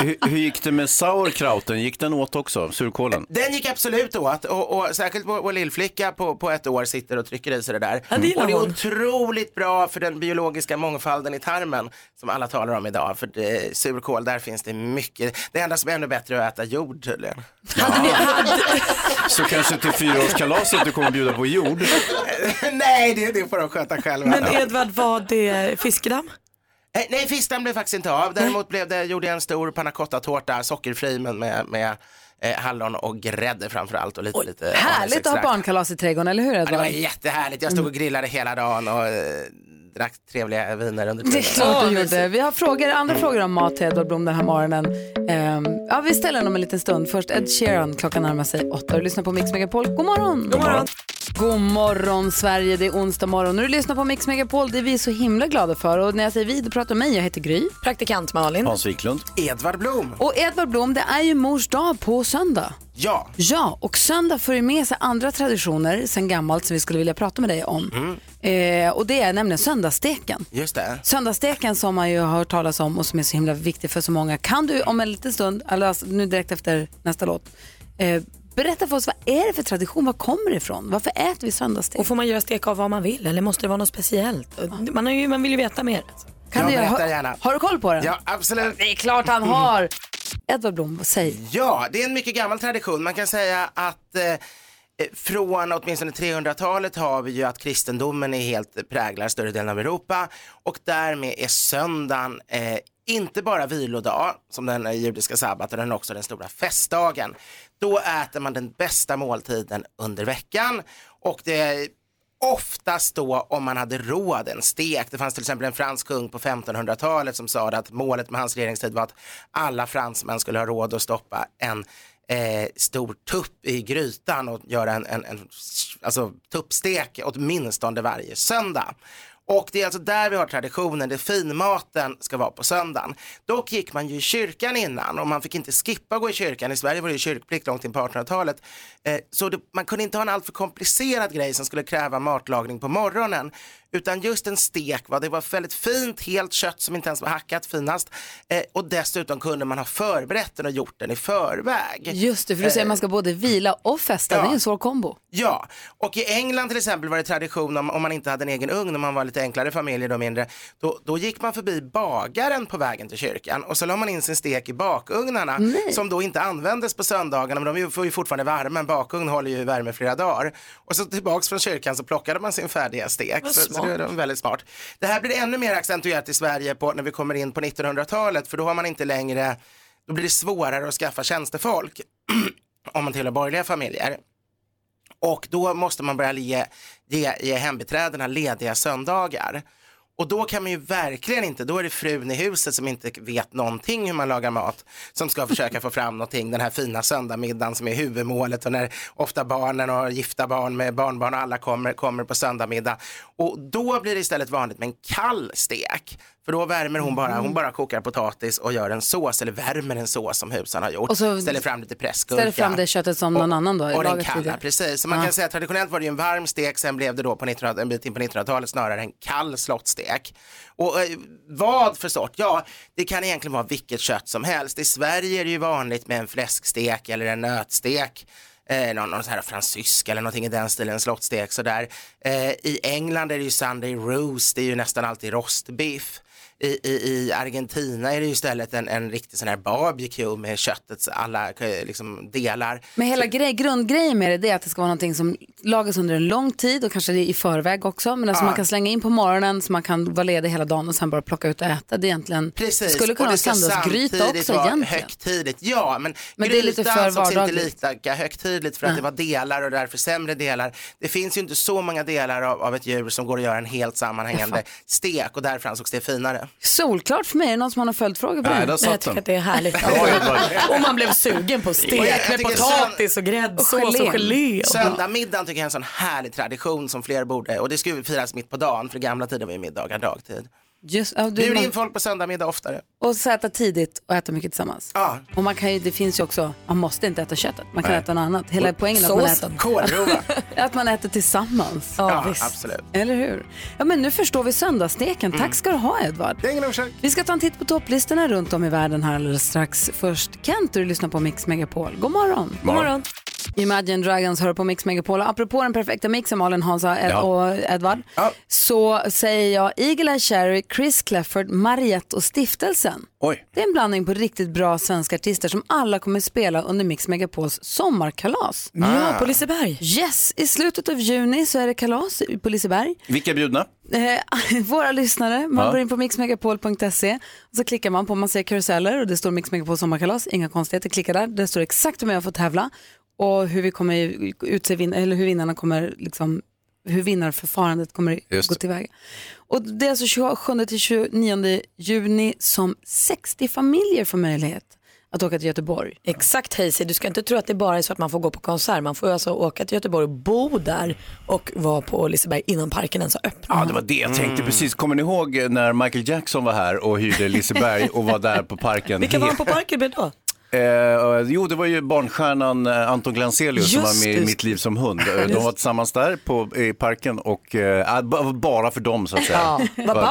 [SPEAKER 2] Hur, hur gick det med sauerkrauten? Gick den åt också, surkålen?
[SPEAKER 14] Den gick absolut åt och, och särskilt vår, vår lillflicka på, på ett år sitter och trycker i sig det där.
[SPEAKER 2] Ja, det gillar
[SPEAKER 14] och
[SPEAKER 3] Mm.
[SPEAKER 14] det är
[SPEAKER 2] hon.
[SPEAKER 14] otroligt bra för den biologiska mångfalden i tarmen som alla talar om idag. För det, surkål, där finns det mycket. Det enda som är ännu bättre är att äta jord tydligen.
[SPEAKER 2] Så kanske till fyraårskalaset du kommer bjuda på jord.
[SPEAKER 14] Nej, det, det får de sköta själva.
[SPEAKER 3] Men Edvard, var det fiskedamm?
[SPEAKER 14] Eh, Nej, fiskan blev faktiskt inte av. Däremot blev det, gjorde jag en stor panna cotta-tårta, sockerfri men med, med eh, hallon och grädde framför allt och lite, lite
[SPEAKER 1] Härligt att ha
[SPEAKER 14] honungsextrakt.
[SPEAKER 1] barnkalas i trädgården, eller hur
[SPEAKER 14] Ja, det
[SPEAKER 1] Edvard?
[SPEAKER 14] var jättehärligt. Jag stod och grillade hela dagen och eh, drack trevliga viner under Mm.
[SPEAKER 1] Det är klart du
[SPEAKER 14] mysigt.
[SPEAKER 1] gjorde. Vi har frågor, andra frågor om mat till Edward Blom den här morgonen. Ehm, ja, vi ställer dem en liten stund. Först Ed Sheeran, klockan närmar sig åtta. Du lyssnar på Mix Megapol. God morgon! God morgon! God morgon Sverige, det är onsdag morgon. Nu lyssnar på Mix Megapol, det är vi så himla glada för. Och när jag säger vi, då pratar jag om mig. Jag heter Gry.
[SPEAKER 3] Praktikant Malin.
[SPEAKER 2] Hans Wiklund.
[SPEAKER 14] Edvard Blom.
[SPEAKER 1] Och Edvard Blom, det är ju mors dag på söndag.
[SPEAKER 14] Ja.
[SPEAKER 1] Ja, och söndag för ju med sig andra traditioner sen gammalt som vi skulle vilja prata med dig om. Eh, och det är nämligen söndagssteken.
[SPEAKER 14] Mm. Just det.
[SPEAKER 1] Söndagssteken som man ju har hört talas om och som är så himla viktig för så många. Kan du om en liten stund, eller alltså nu direkt efter nästa låt, eh, berätta för oss vad är det för tradition? Var kommer det ifrån? Varför äter vi söndagsstek?
[SPEAKER 3] Och får man göra stek av vad man vill eller måste det vara något speciellt? Man, har ju, man vill ju veta mer.
[SPEAKER 1] Kan du göra- har- Har du koll på den?
[SPEAKER 14] Ja, absolut.
[SPEAKER 1] Det är klart han har. Edvard Blom, säg.
[SPEAKER 14] Ja, det är en mycket gammal tradition. Man kan säga att eh, eh, från åtminstone 300-talet har vi ju att kristendomen är helt präglar större delen av Europa och därmed är söndagen eh, inte bara vilodag som den eh, judiska sabbaten, den är också den stora festdagen. Då äter man den bästa måltiden under veckan och det oftast då om man hade råd en stek. Det fanns till exempel en fransk kung på 1500-talet som sa att målet med hans regeringstid var att alla fransmän skulle ha råd att stoppa en eh, stor tupp i grytan och göra en, en, en alltså, tuppstek åtminstone varje söndag. Och det är alltså där vi har traditionen, det finmaten ska vara på söndagen. Dock gick man ju i kyrkan innan och man fick inte skippa att gå i kyrkan. I Sverige var det ju kyrkplikt långt in på 1800-talet. Eh, så det, man kunde inte ha en alltför komplicerad grej som skulle kräva matlagning på morgonen. Utan just en stek, va? det var väldigt fint, helt kött som inte ens var hackat, finast. Eh, och dessutom kunde man ha förberett den och gjort den i förväg.
[SPEAKER 1] Just det, för du säger att man ska både vila och festa.
[SPEAKER 14] ja.
[SPEAKER 1] Det är en svår kombo.
[SPEAKER 14] Ja, och i England till exempel var det tradition om, om man inte hade en egen ugn, om man var lite enklare familjer då mindre, då, då gick man förbi bagaren på vägen till kyrkan och så la man in sin stek i bakugnarna
[SPEAKER 12] Nej.
[SPEAKER 14] som då inte användes på söndagarna, men de är ju- får ju fortfarande värme, en bakugn håller ju värme flera dagar. Och så tillbaks från kyrkan så plockade man sin färdiga stek.
[SPEAKER 12] Vad
[SPEAKER 14] Så, så det
[SPEAKER 12] smart.
[SPEAKER 14] var väldigt smart. Det här blir ännu mer accentuerat i Sverige på, när vi kommer in på 1900-talet, för då har man inte längre, då blir det svårare att skaffa tjänstefolk [CLEARS THROAT] om man tillhör borgerliga familjer. Och då måste man börja ge, ge, ge hembiträdena lediga söndagar. Och då kan man ju verkligen inte, då är det frun i huset som inte vet någonting hur man lagar mat som ska försöka få fram någonting den här fina söndagsmiddagen som är huvudmålet och när ofta barnen och gifta barn med barnbarn och alla kommer, kommer på söndagsmiddag. Och då blir det istället vanligt med en kall stek. För då värmer hon bara, hon bara kokar potatis och gör en sås eller värmer en sås som husan har gjort.
[SPEAKER 1] Och så
[SPEAKER 14] ställer fram lite pressgurka.
[SPEAKER 1] Ställer fram det köttet som någon annan då har
[SPEAKER 14] Och den
[SPEAKER 1] lagat
[SPEAKER 14] kalla,
[SPEAKER 1] tidigare.
[SPEAKER 14] precis. Eh, Så man
[SPEAKER 1] Ja.
[SPEAKER 14] kan säga att traditionellt var det ju en varm stek, sen blev det då på 1900, en bit in på 1900-talet snarare en kall slottstek. Och eh, vad för sort? Ja, det kan egentligen vara vilket kött som helst. I Sverige är det ju vanligt med en fläskstek eller en nötstek. Eh, någon, någon sån här fransysk eller någonting i den stilen, en slottstek sådär. Eh, I England är det ju Sunday roast, det är ju nästan alltid rostbiff. I, i, I Argentina är det ju istället en, en riktig sån här barbecue med köttets alla eh, liksom, delar.
[SPEAKER 1] Men hela grej, grundgrejen med det, det är att det ska vara någonting som lagas under en lång tid och kanske i förväg också. Men alltså
[SPEAKER 14] Ja.
[SPEAKER 1] man kan slänga in på morgonen så man kan vara ledig hela dagen och sen bara plocka ut och äta. Det är egentligen,
[SPEAKER 14] Precis.
[SPEAKER 1] skulle kunna
[SPEAKER 14] och
[SPEAKER 1] vara
[SPEAKER 14] det ska
[SPEAKER 1] söndagsgryta
[SPEAKER 14] samtidigt
[SPEAKER 1] också
[SPEAKER 14] vara
[SPEAKER 1] egentligen.
[SPEAKER 14] högtidligt, ja men,
[SPEAKER 1] Men det är lite
[SPEAKER 14] grytan
[SPEAKER 1] för
[SPEAKER 14] sågs inte
[SPEAKER 1] vardagligt.
[SPEAKER 14] lika högtidligt för att
[SPEAKER 1] Nej.
[SPEAKER 14] det var delar och därför sämre delar. Det finns ju inte så många delar av, av ett djur som går att göra en helt sammanhängande
[SPEAKER 1] Jag
[SPEAKER 14] stek och därför ansågs det finare.
[SPEAKER 1] Solklart för mig, är det någon som har någon följdfråga på
[SPEAKER 14] Nej,
[SPEAKER 1] det?
[SPEAKER 14] där satt Nej, jag tycker den. att det är härligt.
[SPEAKER 3] Och man blev sugen på stek
[SPEAKER 14] Och jag- jag
[SPEAKER 3] med
[SPEAKER 14] tycker
[SPEAKER 3] potatis
[SPEAKER 14] sön-
[SPEAKER 3] och gräddsås och gelé.
[SPEAKER 14] Söndagsmiddagen tycker jag är en sån härlig tradition som fler borde, och det skulle ju firas mitt på dagen för i gamla tider var ju middagar dagtid.
[SPEAKER 1] Just, ja,
[SPEAKER 14] Bjud
[SPEAKER 1] man-
[SPEAKER 14] in folk på söndagsmiddag oftare.
[SPEAKER 1] Och så äta tidigt och äta mycket tillsammans. Och man kan ju, det finns ju också, man måste inte äta köttet, man kan
[SPEAKER 14] Nej.
[SPEAKER 1] äta något annat. Hela
[SPEAKER 14] Och
[SPEAKER 1] poängen är att man
[SPEAKER 14] såsen. [LAUGHS]
[SPEAKER 1] äter, [LAUGHS] att man äter tillsammans.
[SPEAKER 14] Ja, visst. absolut. Mm.
[SPEAKER 1] Eller hur? Ja, men nu förstår vi söndagssteken. Tack ska du ha Edvard. Vi ska ta en titt på topplistorna runt om i världen här alldeles strax. Först Kent, du lyssnar på Mix Megapol. God morgon.
[SPEAKER 12] God morgon.
[SPEAKER 1] Imagine Dragons hör på Mix Megapol. Apropå den perfekta mixen, Malin, Hansa Ed
[SPEAKER 12] Ja.
[SPEAKER 1] och Edvard, så säger jag Eagle Eye Cherry, Chris Clefford, Mariette och Stiftelsen.
[SPEAKER 2] Oj.
[SPEAKER 1] Det är en blandning på riktigt bra svenska artister som alla kommer spela under Mix Megapols sommarkalas.
[SPEAKER 2] Ja, på
[SPEAKER 1] Liseberg. Yes, i slutet av juni så är det kalas på Liseberg.
[SPEAKER 2] Vilka är bjudna?
[SPEAKER 1] Eh, [LAUGHS] våra lyssnare, man
[SPEAKER 2] Ja.
[SPEAKER 1] går in på mixmegapol.se och så klickar man på, man ser karuseller och det står Mix Megapol sommarkalas, inga konstigheter, klicka där, det står exakt hur man får tävla och hur vi kommer utse vin- eller hur vinnarna kommer liksom hur vinnarförfarandet kommer
[SPEAKER 12] Just
[SPEAKER 1] gå
[SPEAKER 12] det.
[SPEAKER 1] tillväga. Och det är alltså 27 till 29 juni som 60 familjer får möjlighet att åka till Göteborg.
[SPEAKER 3] Exakt Hazy, du ska inte tro att det bara är så att man får gå på konsert. Man får ju alltså åka till Göteborg och bo där och vara på Liseberg innan parken ens har öppnat.
[SPEAKER 2] Ja, det var det jag
[SPEAKER 3] Mm.
[SPEAKER 2] tänkte precis. Kommer ni ihåg när Michael Jackson var här och hyrde Liseberg och var där på parken?
[SPEAKER 3] Vilka var han på Barkarby då?
[SPEAKER 2] Eh, jo, det var ju barnstjärnan eh, Anton Glanzelius som
[SPEAKER 3] Just
[SPEAKER 2] var med i
[SPEAKER 3] det.
[SPEAKER 2] Mitt liv som hund. Eh, De var
[SPEAKER 3] Just.
[SPEAKER 2] tillsammans där på, i parken och eh, b- bara för dem så att säga. [LAUGHS]
[SPEAKER 1] Ja.
[SPEAKER 2] Var-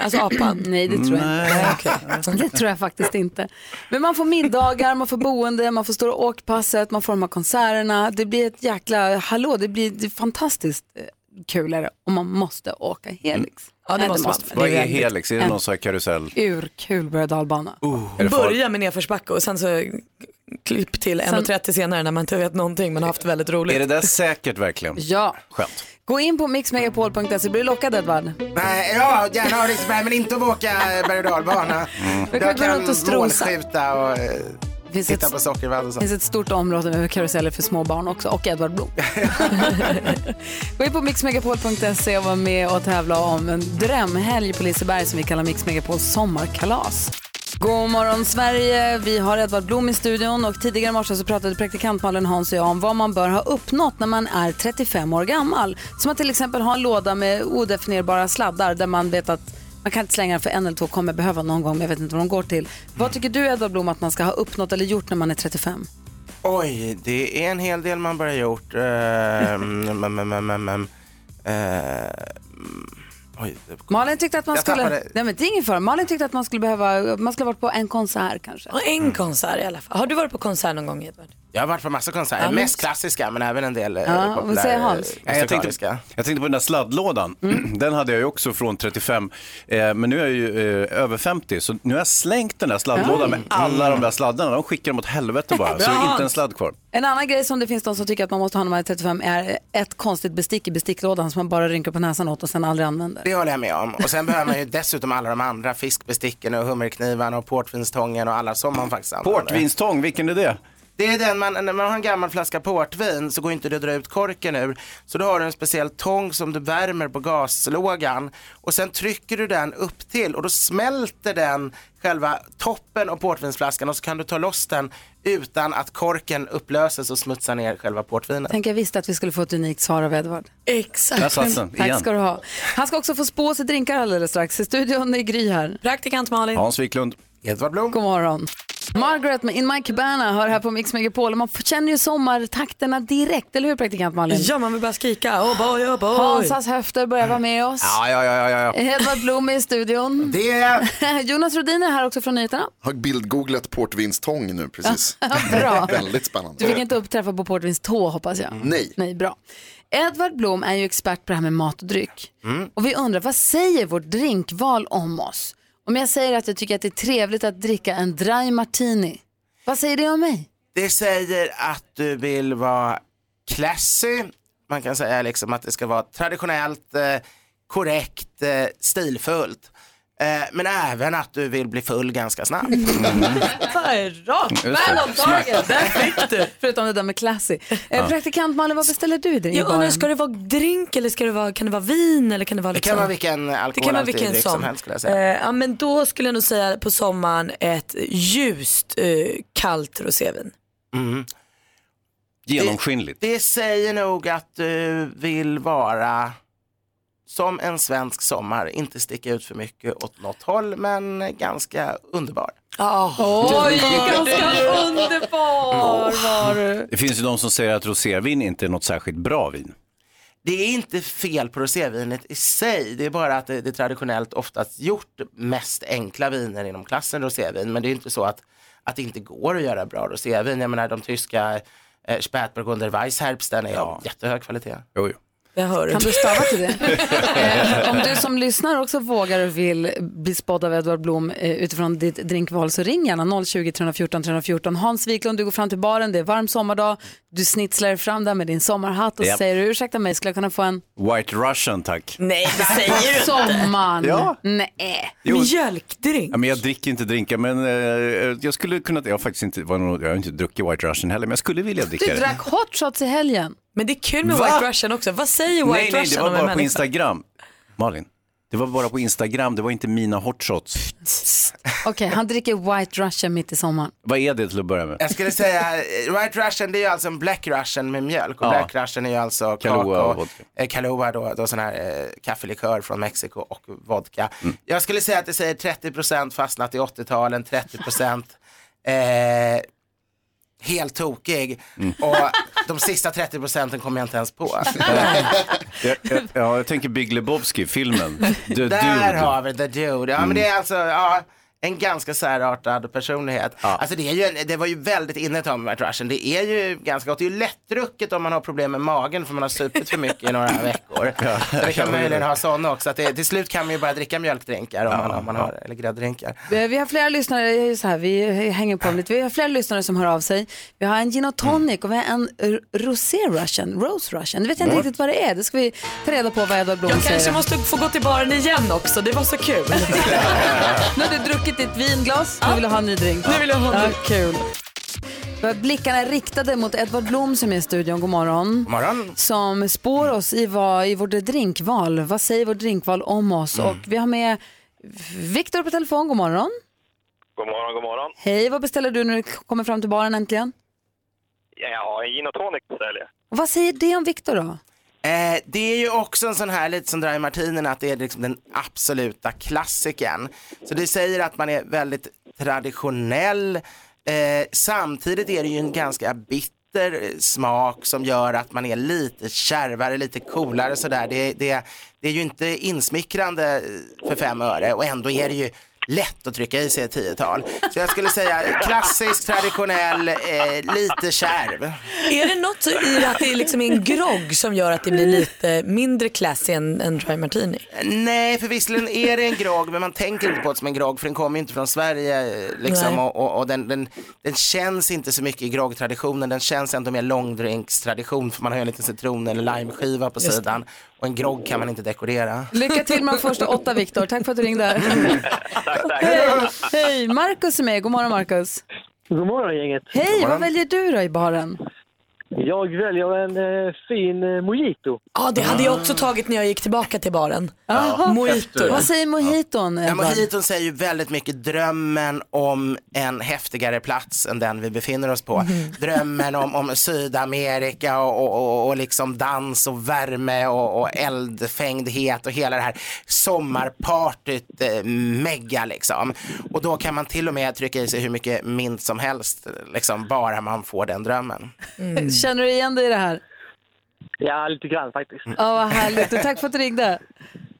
[SPEAKER 3] alltså [CLEARS THROAT]
[SPEAKER 1] Nej, det tror jag
[SPEAKER 2] Nej.
[SPEAKER 1] inte. [LAUGHS] Det tror jag faktiskt inte. Men man får middagar, man får boende, man får stå och åkpasset, man får de här konserterna. Det blir ett jäkla hallå, det blir det är fantastiskt eh, kul är det. och man måste åka Helix.
[SPEAKER 3] Ja, det
[SPEAKER 1] Nej,
[SPEAKER 3] måste
[SPEAKER 1] man-
[SPEAKER 3] man.
[SPEAKER 1] det
[SPEAKER 2] Vad
[SPEAKER 1] är
[SPEAKER 2] är
[SPEAKER 1] väldigt-
[SPEAKER 2] Helix? Är det
[SPEAKER 1] en
[SPEAKER 2] någon sån här karusell?
[SPEAKER 1] Urkul berg och dalbana.
[SPEAKER 2] Är det farligt?
[SPEAKER 3] Börja med nedförsbacke och sen så klipp till 1.30 senare när man inte vet någonting men har haft väldigt roligt.
[SPEAKER 2] Är det där säkert verkligen?
[SPEAKER 1] Ja.
[SPEAKER 2] Skönt.
[SPEAKER 1] Gå in på mixmegapol.se, blir du lockad Edvard?
[SPEAKER 14] Nej, Eh, ja, gärna Aliseberg men inte att åka berg och dalbana.
[SPEAKER 1] Vi kan
[SPEAKER 14] Jag
[SPEAKER 1] gå runt
[SPEAKER 14] kan
[SPEAKER 1] och strosa.
[SPEAKER 14] målskjuta och eh,
[SPEAKER 1] Finns
[SPEAKER 14] titta
[SPEAKER 1] ett-
[SPEAKER 14] på sockervadd och
[SPEAKER 1] Det
[SPEAKER 14] sånt.
[SPEAKER 1] finns ett stort område med karuseller för små barn också och Edvard Blom. Gå in på mixmegapol.se och var med och tävla om en drömhelg på Liseberg som vi kallar Mix Megapols sommarkalas. God morgon Sverige! Vi har Edvard Blom i studion och tidigare i morse så pratade praktikant Malin Hans och jag om vad man bör ha uppnått när man är 35 år gammal. Som att till exempel ha en låda med odefinierbara sladdar där man vet att man kan inte slänga den för en eller två kommer behöva någon gång men jag vet inte vad de går till. Vad tycker du Edvard Blom att man ska ha uppnått eller gjort när man är 35?
[SPEAKER 14] Oj, det är en hel del man bara gjort. Ehm, [LAUGHS] mm, mm, mm, mm, mm. Ehm, oj, det-
[SPEAKER 1] Malin tyckte att man
[SPEAKER 14] Jag
[SPEAKER 1] skulle...
[SPEAKER 14] tappade-
[SPEAKER 1] Nej men det är ingen fara. Malin tyckte att man skulle behöva... Man skulle ha varit på en konsert kanske.
[SPEAKER 3] Ja, en konsert i alla fall. Har du varit på konsert någon gång Edvard?
[SPEAKER 14] Jag har varit på massa konserter,
[SPEAKER 3] Ja, men-
[SPEAKER 14] mest klassiska men även en del eh,
[SPEAKER 3] Ja, och vad
[SPEAKER 14] populära.
[SPEAKER 3] säger
[SPEAKER 14] eh,
[SPEAKER 3] Hans?
[SPEAKER 2] Nej, Jag tänkte,
[SPEAKER 14] musikaliska.
[SPEAKER 2] jag tänkte på den där sladdlådan. [CLEARS THROAT]
[SPEAKER 1] Mm.
[SPEAKER 2] Den hade jag ju också från 35. Eh, men nu är jag ju eh, över 50 så nu har jag slängt den där sladdlådan med alla de där sladdarna. De skickar dem åt helvete bara. så det är
[SPEAKER 1] Ah. Mm. Bra.
[SPEAKER 2] inte en sladd kvar.
[SPEAKER 1] En annan grej som det finns de som tycker att man måste ha när man är 35 är ett konstigt bestick i besticklådan som man bara rynkar på näsan åt och sen aldrig använder.
[SPEAKER 14] Det håller jag med om. Och sen behöver man ju Eh, dessutom alla de andra fiskbesticken och hummerknivarna och portvinstången och alla som man faktiskt använder.
[SPEAKER 2] Portvinstång, vilken är det?
[SPEAKER 14] Det är den man, när man har en gammal flaska portvin så går inte det att dra ut korken ur. Så då har du en speciell tång som du värmer på gaslågan och sen trycker du den upp till och då smälter den själva toppen av portvinsflaskan och så kan du ta loss den utan att korken upplöses och smutsar ner själva portvinet.
[SPEAKER 1] Tänk jag visste att vi skulle få ett unikt svar av Edvard.
[SPEAKER 3] Exakt.
[SPEAKER 14] Där satt den,
[SPEAKER 1] Tack
[SPEAKER 14] igen.
[SPEAKER 1] ska du ha. Han ska också få spå sig drinkar alldeles strax. I studion är Gry här.
[SPEAKER 3] Praktikant Malin.
[SPEAKER 2] Hans Wiklund.
[SPEAKER 14] Edvard Blom.
[SPEAKER 1] God morgon. Margaret med In My Cabana hör här på Mix Megapol. Man känner ju sommartakterna direkt, eller hur praktikant Malin?
[SPEAKER 3] Ja, man vill bara skrika. Oh boy, oh boy.
[SPEAKER 1] Hansas höfter börjar vara med oss.
[SPEAKER 14] Ja, ja, ja, ja, ja.
[SPEAKER 1] Edvard Blom är i studion.
[SPEAKER 14] Det är
[SPEAKER 1] [LAUGHS] Jonas Rodin är här också från nyheterna.
[SPEAKER 7] Har bildgooglat portvinstång nu precis.
[SPEAKER 1] Bra.
[SPEAKER 7] Väldigt spännande.
[SPEAKER 1] Du
[SPEAKER 14] Eh.
[SPEAKER 1] fick inte uppträffa på Portvins tå hoppas jag.
[SPEAKER 14] Mm.
[SPEAKER 7] Nej.
[SPEAKER 1] Nej, bra. Edvard Blom är ju expert på det här med mat och dryck.
[SPEAKER 14] Mm.
[SPEAKER 1] Och vi undrar, vad säger vårt drinkval om oss? Om jag säger att jag tycker att det är trevligt att dricka en dry martini, vad säger det om mig?
[SPEAKER 14] Det säger att du vill vara classy. Man kan säga liksom att det ska vara traditionellt, eh, korrekt, eh, stilfullt. Eh, men även att du vill bli full ganska snabbt.
[SPEAKER 1] Rakt
[SPEAKER 14] Just det.
[SPEAKER 1] väl om dagen!
[SPEAKER 14] Smart.
[SPEAKER 1] Där fick du! Förutom det där med classy. Eh,
[SPEAKER 14] Ja.
[SPEAKER 1] Praktikant Malin, vad beställer du i drinkbaren?
[SPEAKER 3] Jag undrar, ska det vara drink eller ska det vara, kan det vara vin? Eller kan det, vara
[SPEAKER 14] Det
[SPEAKER 3] liksom...
[SPEAKER 14] kan vara vilken
[SPEAKER 3] Det kan vara
[SPEAKER 14] alkoholhaltig
[SPEAKER 3] vilken
[SPEAKER 14] dryck
[SPEAKER 3] som
[SPEAKER 14] som helst skulle jag säga.
[SPEAKER 3] Eh, ja, men då skulle jag nog säga på sommaren ett ljust eh, kallt rosévin.
[SPEAKER 2] Genomskinligt.
[SPEAKER 14] Det säger nog att du vill vara som en svensk sommar, inte sticka ut för mycket åt något håll men ganska underbar.
[SPEAKER 1] Oj, ganska underbar var du.
[SPEAKER 2] Det finns ju de som säger att rosévin inte är något särskilt bra vin.
[SPEAKER 14] Det är inte fel på rosévinet i sig, det är bara att det, det är traditionellt oftast gjort mest enkla viner inom klassen rosévin. Men det är inte så att, att det inte går att göra bra rosévin. Jag menar de tyska eh, Spätburgunder Weissherbst, den är av jättehög kvalitet.
[SPEAKER 2] Jo, jo.
[SPEAKER 3] Jag hör
[SPEAKER 1] Kan du stava till det? Eh, Om du som lyssnar också vågar och vill bli spådd av Edvard Blom eh, utifrån ditt drinkval så ring gärna 020 314 314. Hans Wiklund, du går fram till baren, det är varm sommardag, du snitslar dig fram där med din sommarhatt och
[SPEAKER 2] Japp.
[SPEAKER 1] säger ursäkta mig, skulle jag kunna få en
[SPEAKER 2] White Russian tack.
[SPEAKER 3] Nej, det
[SPEAKER 1] sommar?
[SPEAKER 2] Ja.
[SPEAKER 1] Nej.
[SPEAKER 2] Jo.
[SPEAKER 3] Mjölkdrink.
[SPEAKER 2] Ja, men jag dricker inte drinkar, men eh, jag skulle kunna, jag har faktiskt inte, var nog, jag har inte druckit White Russian heller, men jag skulle vilja dricka
[SPEAKER 1] Du
[SPEAKER 2] det.
[SPEAKER 1] drack hot shots i helgen.
[SPEAKER 3] Men det är kul med
[SPEAKER 2] Va?
[SPEAKER 3] White Russian också. Vad säger [LAUGHS] White
[SPEAKER 2] nej,
[SPEAKER 3] Russian
[SPEAKER 2] nej, det var
[SPEAKER 3] om en
[SPEAKER 2] bara på
[SPEAKER 3] människa?
[SPEAKER 2] Instagram. Malin, det var bara på Instagram, det var inte mina hotshots.
[SPEAKER 1] Okej, han dricker White Russian mitt i sommaren.
[SPEAKER 2] Vad är det till att börja med?
[SPEAKER 14] Jag skulle säga, eh, White Russian det är ju alltså en Black Russian med mjölk och
[SPEAKER 2] Ja.
[SPEAKER 14] Black Russian är ju alltså
[SPEAKER 2] Kahlua
[SPEAKER 14] kakao,
[SPEAKER 2] och vodka.
[SPEAKER 14] eh, Kahlua då, då sån här eh, kaffelikör från Mexiko och vodka. Mm. Jag skulle säga att det säger 30% fastnat i 80-talen, 30% eh, helt tokig och de sista 30% kommer jag inte ens på.
[SPEAKER 2] jag, jag,
[SPEAKER 14] [LAUGHS]
[SPEAKER 2] ja, jag tänker Big Lebowski, filmen. The
[SPEAKER 14] Där
[SPEAKER 2] Dude.
[SPEAKER 14] har vi the dude. Ja, men det är alltså, ja, en ganska särartad personlighet. Alltså det, är ju en, det var ju väldigt inne Tommy McTrashen. Det är ju ganska gott. Det är ju lättdrucket om man har problem med magen för man har supit för mycket i några veckor. Så vi kan möjligen ha sådana också. Att det, till slut kan man ju bara dricka mjölkdrinkar om man, om man har, eller grädddrinkar.
[SPEAKER 1] Eh, Vi har flera lyssnare, jag är ju så här, vi hänger på dem lite. Vi har flera lyssnare som hör av sig. Vi har en gin och tonic och vi har en eh, rosé russian, rose russian. Det vet jag inte
[SPEAKER 3] Mm.
[SPEAKER 1] riktigt vad det är. Det ska vi ta reda på vad Edward Blom
[SPEAKER 3] Jag
[SPEAKER 1] säger.
[SPEAKER 3] kanske måste få gå till baren igen också, det var så kul.
[SPEAKER 1] Nu har du druckit ditt vinglas, nu vill du ha en ny drink.
[SPEAKER 3] [LAUGHS] Nu vill jag ha en
[SPEAKER 1] ja,
[SPEAKER 3] drink.
[SPEAKER 1] Kul. Vi har Blickarna riktade mot Edvard Blom som är i studion. God morgon.
[SPEAKER 14] God morgon.
[SPEAKER 1] Som spår oss i, vad, i vårt drinkval. Vad säger vårt drinkval om oss?
[SPEAKER 12] Mm.
[SPEAKER 1] Och vi har med Viktor på telefon. God morgon.
[SPEAKER 12] God morgon, god morgon.
[SPEAKER 1] Hej, vad beställer du när du kommer fram till baren äntligen?
[SPEAKER 12] Ja, en gin och tonic beställer jag.
[SPEAKER 1] Och vad säger det om Viktor då?
[SPEAKER 14] Eh, det är ju också en sån här, lite som Dry Martinen, att det är liksom den absoluta klassikern. Så det säger att man är väldigt traditionell. Eh, samtidigt är det ju en ganska bitter eh, smak som gör att man är lite kärvare, lite coolare sådär. Det, det, det är ju inte insmickrande eh, för fem öre och ändå är det ju lätt att trycka i sig ett tiotal. Så jag skulle säga klassisk, traditionell, eh, lite kärv.
[SPEAKER 3] Är det något i att det liksom är en grogg som gör att det blir lite mindre classy än en dry martini?
[SPEAKER 14] Nej, för visserligen är det en grogg, men man tänker inte på det som en grogg, för den kommer ju inte från Sverige. eh, Liksom,
[SPEAKER 3] Nej.
[SPEAKER 14] och och, och den, den, den känns inte så mycket i groggtraditionen, den känns ändå mer långdrinkstradition, för man har ju en liten citron eller limeskiva på
[SPEAKER 1] Just det.
[SPEAKER 14] sidan. Och en grogg kan man inte dekorera.
[SPEAKER 1] Lycka till med de första åtta Viktor. Tack för att du ringde.
[SPEAKER 12] tack.
[SPEAKER 1] Hej, hej. Markus är med. God morgon Markus.
[SPEAKER 15] God morgon gänget.
[SPEAKER 1] Hej, vad väljer du då i baren?
[SPEAKER 15] Jag väljer en eh, fin eh, mojito.
[SPEAKER 3] Ja, det hade jag också tagit när jag gick tillbaka till baren.
[SPEAKER 1] Jaha.
[SPEAKER 3] Mojito.
[SPEAKER 1] Vad säger mojiton?
[SPEAKER 14] Ja,
[SPEAKER 1] Edvard?
[SPEAKER 14] mojiton säger ju väldigt mycket drömmen om en häftigare plats än den vi befinner oss på. Drömmen om, om Sydamerika och, och, och, och liksom dans och värme och, och eldfängdhet och hela det här sommarpartyt eh, mega liksom. Och då kan man till och med trycka i sig hur mycket mint som helst, liksom, bara man får den drömmen.
[SPEAKER 1] Mm. Känner du igen dig i det här?
[SPEAKER 15] Ja, lite grann faktiskt.
[SPEAKER 1] Ja, vad härligt. Och tack för att du ringde.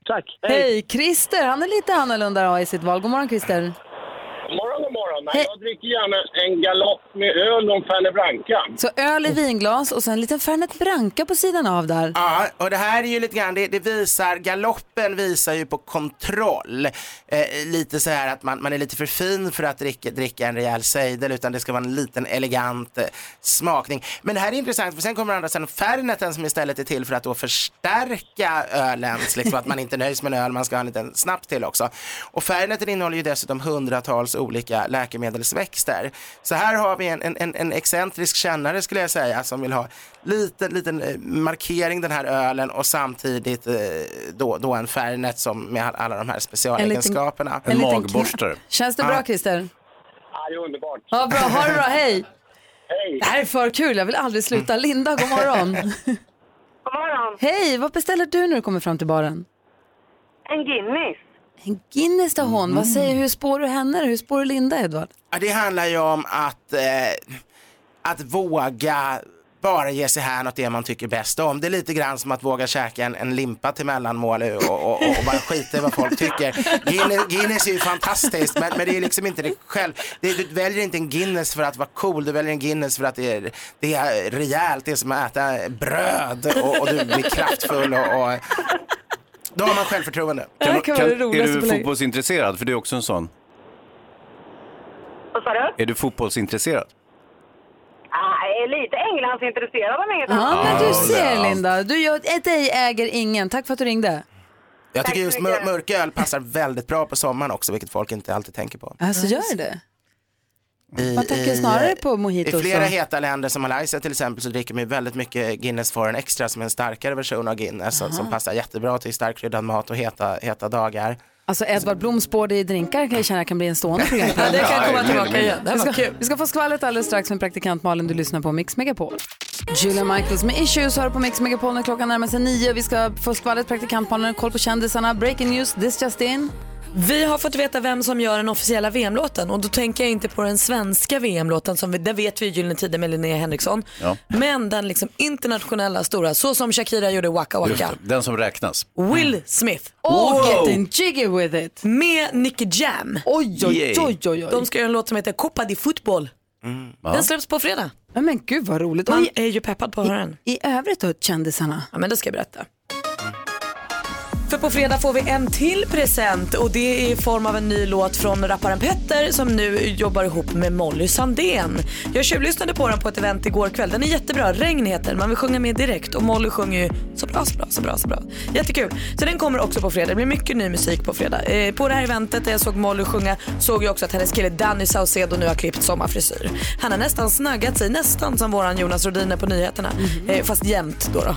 [SPEAKER 15] Tack.
[SPEAKER 1] Hej. Christer, han är lite annorlunda då i sitt val. God morgon Christer.
[SPEAKER 16] God morgon, god morgon. Nej, jag dricker gärna en galopp med öl och en Fernet Branca.
[SPEAKER 1] Så öl i vinglas och sen en liten Fernet Branca på sidan av där.
[SPEAKER 14] Ja, och det här är ju lite grann, det, det visar, galoppen visar ju på kontroll. Eh, lite så här att man, man är lite för fin för att dricka, dricka en rejäl sejdel utan det ska vara en liten elegant eh, smakning. Men det här är intressant för sen kommer andra sen ferneten som istället är till för att då förstärka ölens, liksom att man inte nöjs med en öl, man ska ha en liten snaps till också. Och ferneten innehåller ju dessutom hundratals olika läkemedelsväxter. Så här har vi en, en, en, en excentrisk kännare skulle jag säga som vill ha liten, liten eh, markering den här ölen och samtidigt eh, då, då en Fernet som med all- alla de här specialegenskaperna.
[SPEAKER 1] En liten magborstare. Känns det bra Christer?
[SPEAKER 16] Ja, det är underbart.
[SPEAKER 1] Ja, bra. Ha det bra. Hej.
[SPEAKER 16] Hej.
[SPEAKER 1] Det här är för kul. Jag vill aldrig sluta. Linda,
[SPEAKER 17] [LAUGHS]
[SPEAKER 1] god morgon.
[SPEAKER 17] God Mm. morgon.
[SPEAKER 1] Hej, vad beställer du när du kommer fram till baren?
[SPEAKER 17] En Guinness. Mm.
[SPEAKER 1] En Guinness till hon. Vad säger, hur spår du henne? Hur spår du Linda, Edvard?
[SPEAKER 14] Ja, det handlar ju om att, eh, att våga bara ge sig hän åt det man tycker bäst om. Det är lite grann som att våga käka en, en limpa till mellanmål och, och, och, och bara skita i vad folk tycker. Guinness, Guinness är ju fantastiskt men, men det är liksom inte det själv. Det, du väljer inte en Guinness för att vara cool, du väljer en Guinness för att det är, det är rejält, det är som att äta bröd och, och du blir kraftfull och, och då har man självförtroende.
[SPEAKER 2] är du fotbollsintresserad? För du är också en sån.
[SPEAKER 17] Vad sa du?
[SPEAKER 2] Är du fotbollsintresserad?
[SPEAKER 17] Ah, jag är lite Englandsintresserad om inget
[SPEAKER 1] Ja, men du ser
[SPEAKER 14] ja.
[SPEAKER 1] Linda. Du gör, ett dig äger ingen. Tack för att du ringde.
[SPEAKER 14] Jag tycker just mör- mörka öl passar väldigt bra på sommaren också, vilket folk inte alltid tänker på.
[SPEAKER 1] Alltså gör det?
[SPEAKER 14] I,
[SPEAKER 1] Man tänker snarare på mojito.
[SPEAKER 14] I flera
[SPEAKER 1] så.
[SPEAKER 14] heta länder som Malaysia till exempel så dricker man ju väldigt mycket Guinness Foreign Extra som är en starkare version av Guinness som, som passar jättebra till starkkryddad mat och heta, heta dagar.
[SPEAKER 1] Alltså Edvard Blom spår dig i drinkar kan jag känna kan bli
[SPEAKER 14] [LAUGHS]
[SPEAKER 1] en stående programpunkt.
[SPEAKER 14] Ja, det kan komma tillbaka igen. Det här
[SPEAKER 1] Vi
[SPEAKER 14] var
[SPEAKER 1] ska,
[SPEAKER 14] kul.
[SPEAKER 1] vi ska få skvallret alldeles strax med praktikant Malin. Du lyssnar på Mix Megapol. Julia Michaels med Issues hör på Mix Megapol när klockan närmar sig nio. Vi ska få skvallret, praktikant Malin, koll på kändisarna, breaking news, this just in.
[SPEAKER 3] Vi har fått veta vem som gör den officiella VM-låten och då tänker jag inte på den svenska VM-låten, som vi, där vet vi ju Gyllene Tider med Linnea Henriksson.
[SPEAKER 2] Ja.
[SPEAKER 3] Men den liksom internationella stora, så som Shakira gjorde Waka
[SPEAKER 2] Just
[SPEAKER 3] Waka.
[SPEAKER 2] det. Den som räknas. [LAUGHS]
[SPEAKER 3] Will Smith.
[SPEAKER 2] Och Wow. getting
[SPEAKER 3] jiggy with it. Med Nicky Jam.
[SPEAKER 1] Oj,
[SPEAKER 2] oj, Yay. oj,
[SPEAKER 1] oj, oj.
[SPEAKER 3] De ska göra en låt som heter Copa di Fotboll. Den släpps på fredag.
[SPEAKER 1] Ja, men gud vad roligt.
[SPEAKER 3] Man
[SPEAKER 1] Oj.
[SPEAKER 3] är ju peppad på att höra den.
[SPEAKER 1] I övrigt då, kändisarna?
[SPEAKER 3] Ja, men det ska jag berätta. För på fredag får vi en till present och det är i form av en ny låt från rapparen Petter som nu jobbar ihop med Molly Sandén. Jag tjuvlyssnade på den på ett event igår kväll. Den är jättebra. Regn heter den. Man vill sjunga med direkt och Molly sjunger ju så bra, så bra, så bra, så bra. Jättekul. Så den kommer också på fredag. Det blir mycket ny musik på fredag. Eh, på det här eventet där jag såg Molly sjunga såg jag också att hennes kille Danny Saucedo nu har klippt sommarfrisyr. Han har nästan snaggat sig, nästan som våran Jonas Rhodiner på nyheterna. Eh, fast jämt då. då.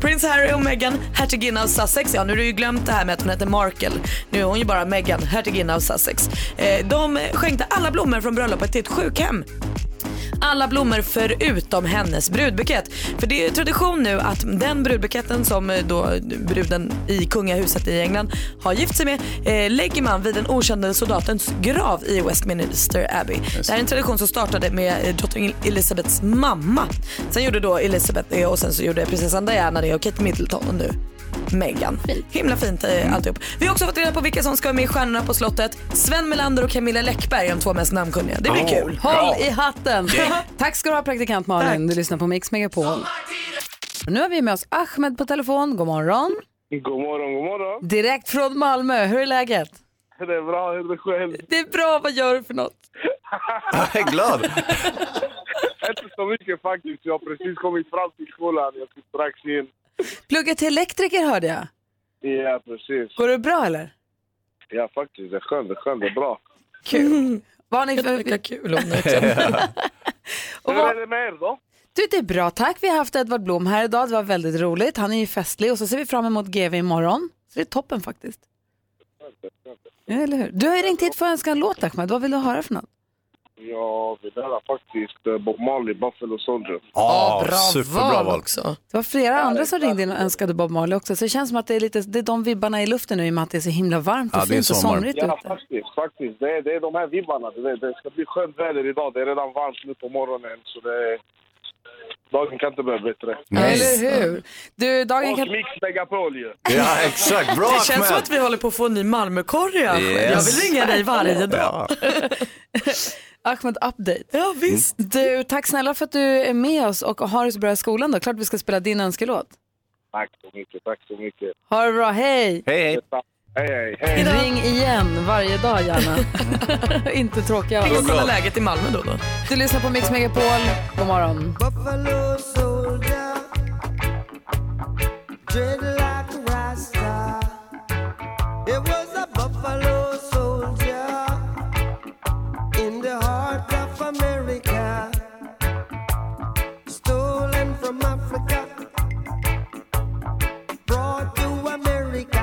[SPEAKER 3] Prins Harry och Meghan, hertiginna av Sussex. Ja, nu har du ju glömt det här med att hon heter Markle. Nu är hon ju bara Meghan, hertiginna av Sussex. Eh, de skänkte alla blommor från bröllopet till ett sjukhem. Alla blommor förutom hennes brudbukett. För det är ju tradition nu att den brudbuketten som eh, då bruden i kungahuset i England har gift sig med eh, lägger man vid den okända soldatens grav i Westminster Abbey. Det här är en tradition som startade med eh, drottning Elizabeths mamma. Sen gjorde då Elizabeth det och sen så gjorde prinsessan Diana det och Kate Middleton och nu Meghan. Himla fint eh, alltihop. Vi har också fått reda på vilka som ska vara med i Stjärnorna på slottet. Sven Melander och Camilla Läckberg är de två mest namnkunniga. Det blir
[SPEAKER 1] Oh,
[SPEAKER 3] kul.
[SPEAKER 1] Håll i hatten. Tack ska du ha praktikant Malin. Du lyssnar på Mix Megapol. Nu har vi med oss Ahmed på telefon. God morgon.
[SPEAKER 18] God morgon, god morgon.
[SPEAKER 1] Direkt från Malmö. Hur är läget?
[SPEAKER 18] Det är bra, hur är det själv?
[SPEAKER 1] Det är bra. Vad gör du för något?
[SPEAKER 2] Jag är glad.
[SPEAKER 18] Inte så mycket faktiskt. Jag har precis kommit fram till skolan. Jag ska strax in.
[SPEAKER 1] Pluggar till elektriker hörde jag.
[SPEAKER 18] Ja, precis.
[SPEAKER 1] Går det bra eller?
[SPEAKER 18] Ja, faktiskt. Det är skönt, det är skönt, det är bra.
[SPEAKER 1] Kul. Vad har ni för... Mm. Jag
[SPEAKER 3] kul om
[SPEAKER 1] [LAUGHS]
[SPEAKER 18] Hur är det med er då?
[SPEAKER 1] Du, det är bra tack. Vi har haft Edvard Blom här idag. Det var väldigt roligt. Han är ju festlig och så ser vi fram emot GV imorgon. Så det är toppen faktiskt. Ja, eller hur? Du har ju ringt hit för att önska en låt Ahmed. Vad vill du höra för något?
[SPEAKER 18] Ja, vi där faktiskt eh, Bob Marley, Buffalo Soldier.
[SPEAKER 2] Ja, bra superbra val val.
[SPEAKER 3] också.
[SPEAKER 1] Det var flera andra som ringde in och önskade Bob Marley också. Så det känns som att det är, lite, det är de vibbarna i luften nu i och med att det är så himla varmt och fint och somrigt
[SPEAKER 18] Ja,
[SPEAKER 1] ute.
[SPEAKER 18] faktiskt. faktiskt. Det, är, det är de här vibbarna. Det, det ska bli skönt väder idag. Det är redan varmt nu på morgonen, så det är... Dagen kan inte börja bättre.
[SPEAKER 1] Eller hur? Du, dagen
[SPEAKER 18] Och
[SPEAKER 1] kan...
[SPEAKER 18] Mix Megapol ju!
[SPEAKER 2] Ja, exakt. Bra,
[SPEAKER 3] Det känns som
[SPEAKER 2] Ahmed.
[SPEAKER 3] att vi håller på att få en ny Malmökorg. Ahmed.
[SPEAKER 2] Yes.
[SPEAKER 3] Jag vill ringa dig varje dag.
[SPEAKER 2] Ja.
[SPEAKER 1] Ahmed Update.
[SPEAKER 3] Ja, visst.
[SPEAKER 1] Du, tack snälla för att du är med oss och har det så bra i skolan då. Klart vi ska spela din önskelåt.
[SPEAKER 18] Tack så mycket, tack så mycket.
[SPEAKER 1] Ha det bra, hej!
[SPEAKER 2] Hej,
[SPEAKER 18] hej. hej,
[SPEAKER 1] Ring igen varje dag gärna. [LAUGHS] Inte tråkiga.
[SPEAKER 3] Ring och kolla läget i Malmö då. då.
[SPEAKER 1] Du lyssnar på Mix Megapol. God morgon.
[SPEAKER 4] Buffalo soldier, dreaded like a rasta. It was a buffalo soldier in the heart of America, stolen from Africa, brought to America.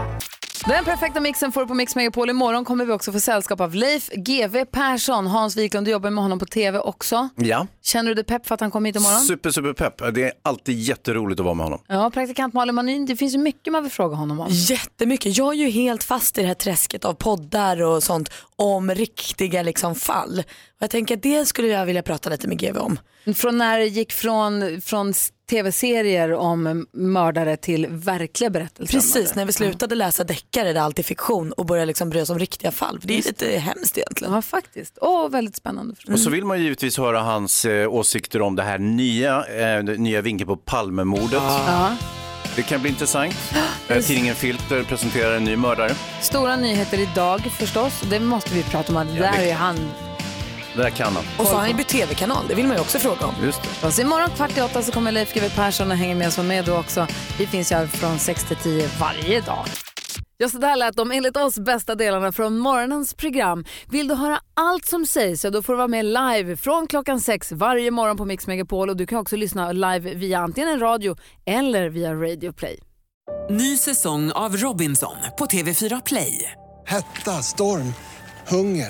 [SPEAKER 1] Den perfekta mixen får du på Mix Megapol. Imorgon kommer vi också få sällskap av Leif GV Persson. Hans Wiklund, du jobbar med honom på TV också.
[SPEAKER 2] Ja.
[SPEAKER 1] Känner du dig pepp för att han kommer hit imorgon?
[SPEAKER 2] Super, super pepp. Det är alltid jätteroligt att vara med honom.
[SPEAKER 1] Ja, praktikant Malin Manin, det finns ju mycket man vill fråga honom om.
[SPEAKER 3] Jättemycket. Jag är ju helt fast i det här träsket av poddar och sånt om riktiga liksom fall. Och jag tänker att det skulle jag vilja prata lite med GV om.
[SPEAKER 1] Från när det gick från, från s- tv-serier om mördare till verkliga berättelser. om
[SPEAKER 3] Precis,
[SPEAKER 1] mördare.
[SPEAKER 3] när vi slutade läsa deckare där allt är fiktion och började liksom bry oss om riktiga fall. För det är ju lite hemskt egentligen.
[SPEAKER 1] Ja, faktiskt. Åh, väldigt spännande.
[SPEAKER 2] Och så vill man ju givetvis höra hans eh, åsikter om det här nya, eh, den nya vinkeln på Palmemordet.
[SPEAKER 1] Ja.
[SPEAKER 2] Det kan bli intressant. Eh, tidningen Filter presenterar en ny mördare.
[SPEAKER 1] Stora nyheter idag förstås. Det måste vi prata om. Det
[SPEAKER 2] Ja,
[SPEAKER 1] där
[SPEAKER 2] det-
[SPEAKER 1] är han
[SPEAKER 2] Det där kan han.
[SPEAKER 3] Och så har han ju bytt tv-kanal, det vill man ju också fråga om.
[SPEAKER 2] Just det.
[SPEAKER 1] oss. Alltså, Imorgon kvart i åtta så kommer Leif GW Persson och hänger med oss och med då också. Vi finns ju här från 6 till 10 varje dag. Ja, så där lät de enligt oss bästa delarna från morgonens program. Vill du höra allt som sägs så då får du vara med live från klockan sex varje morgon på Mix Megapol och du kan också lyssna live via antingen en radio eller via Radio Play.
[SPEAKER 19] Ny säsong av Robinson på TV4 Play.
[SPEAKER 20] Hetta, storm, hunger.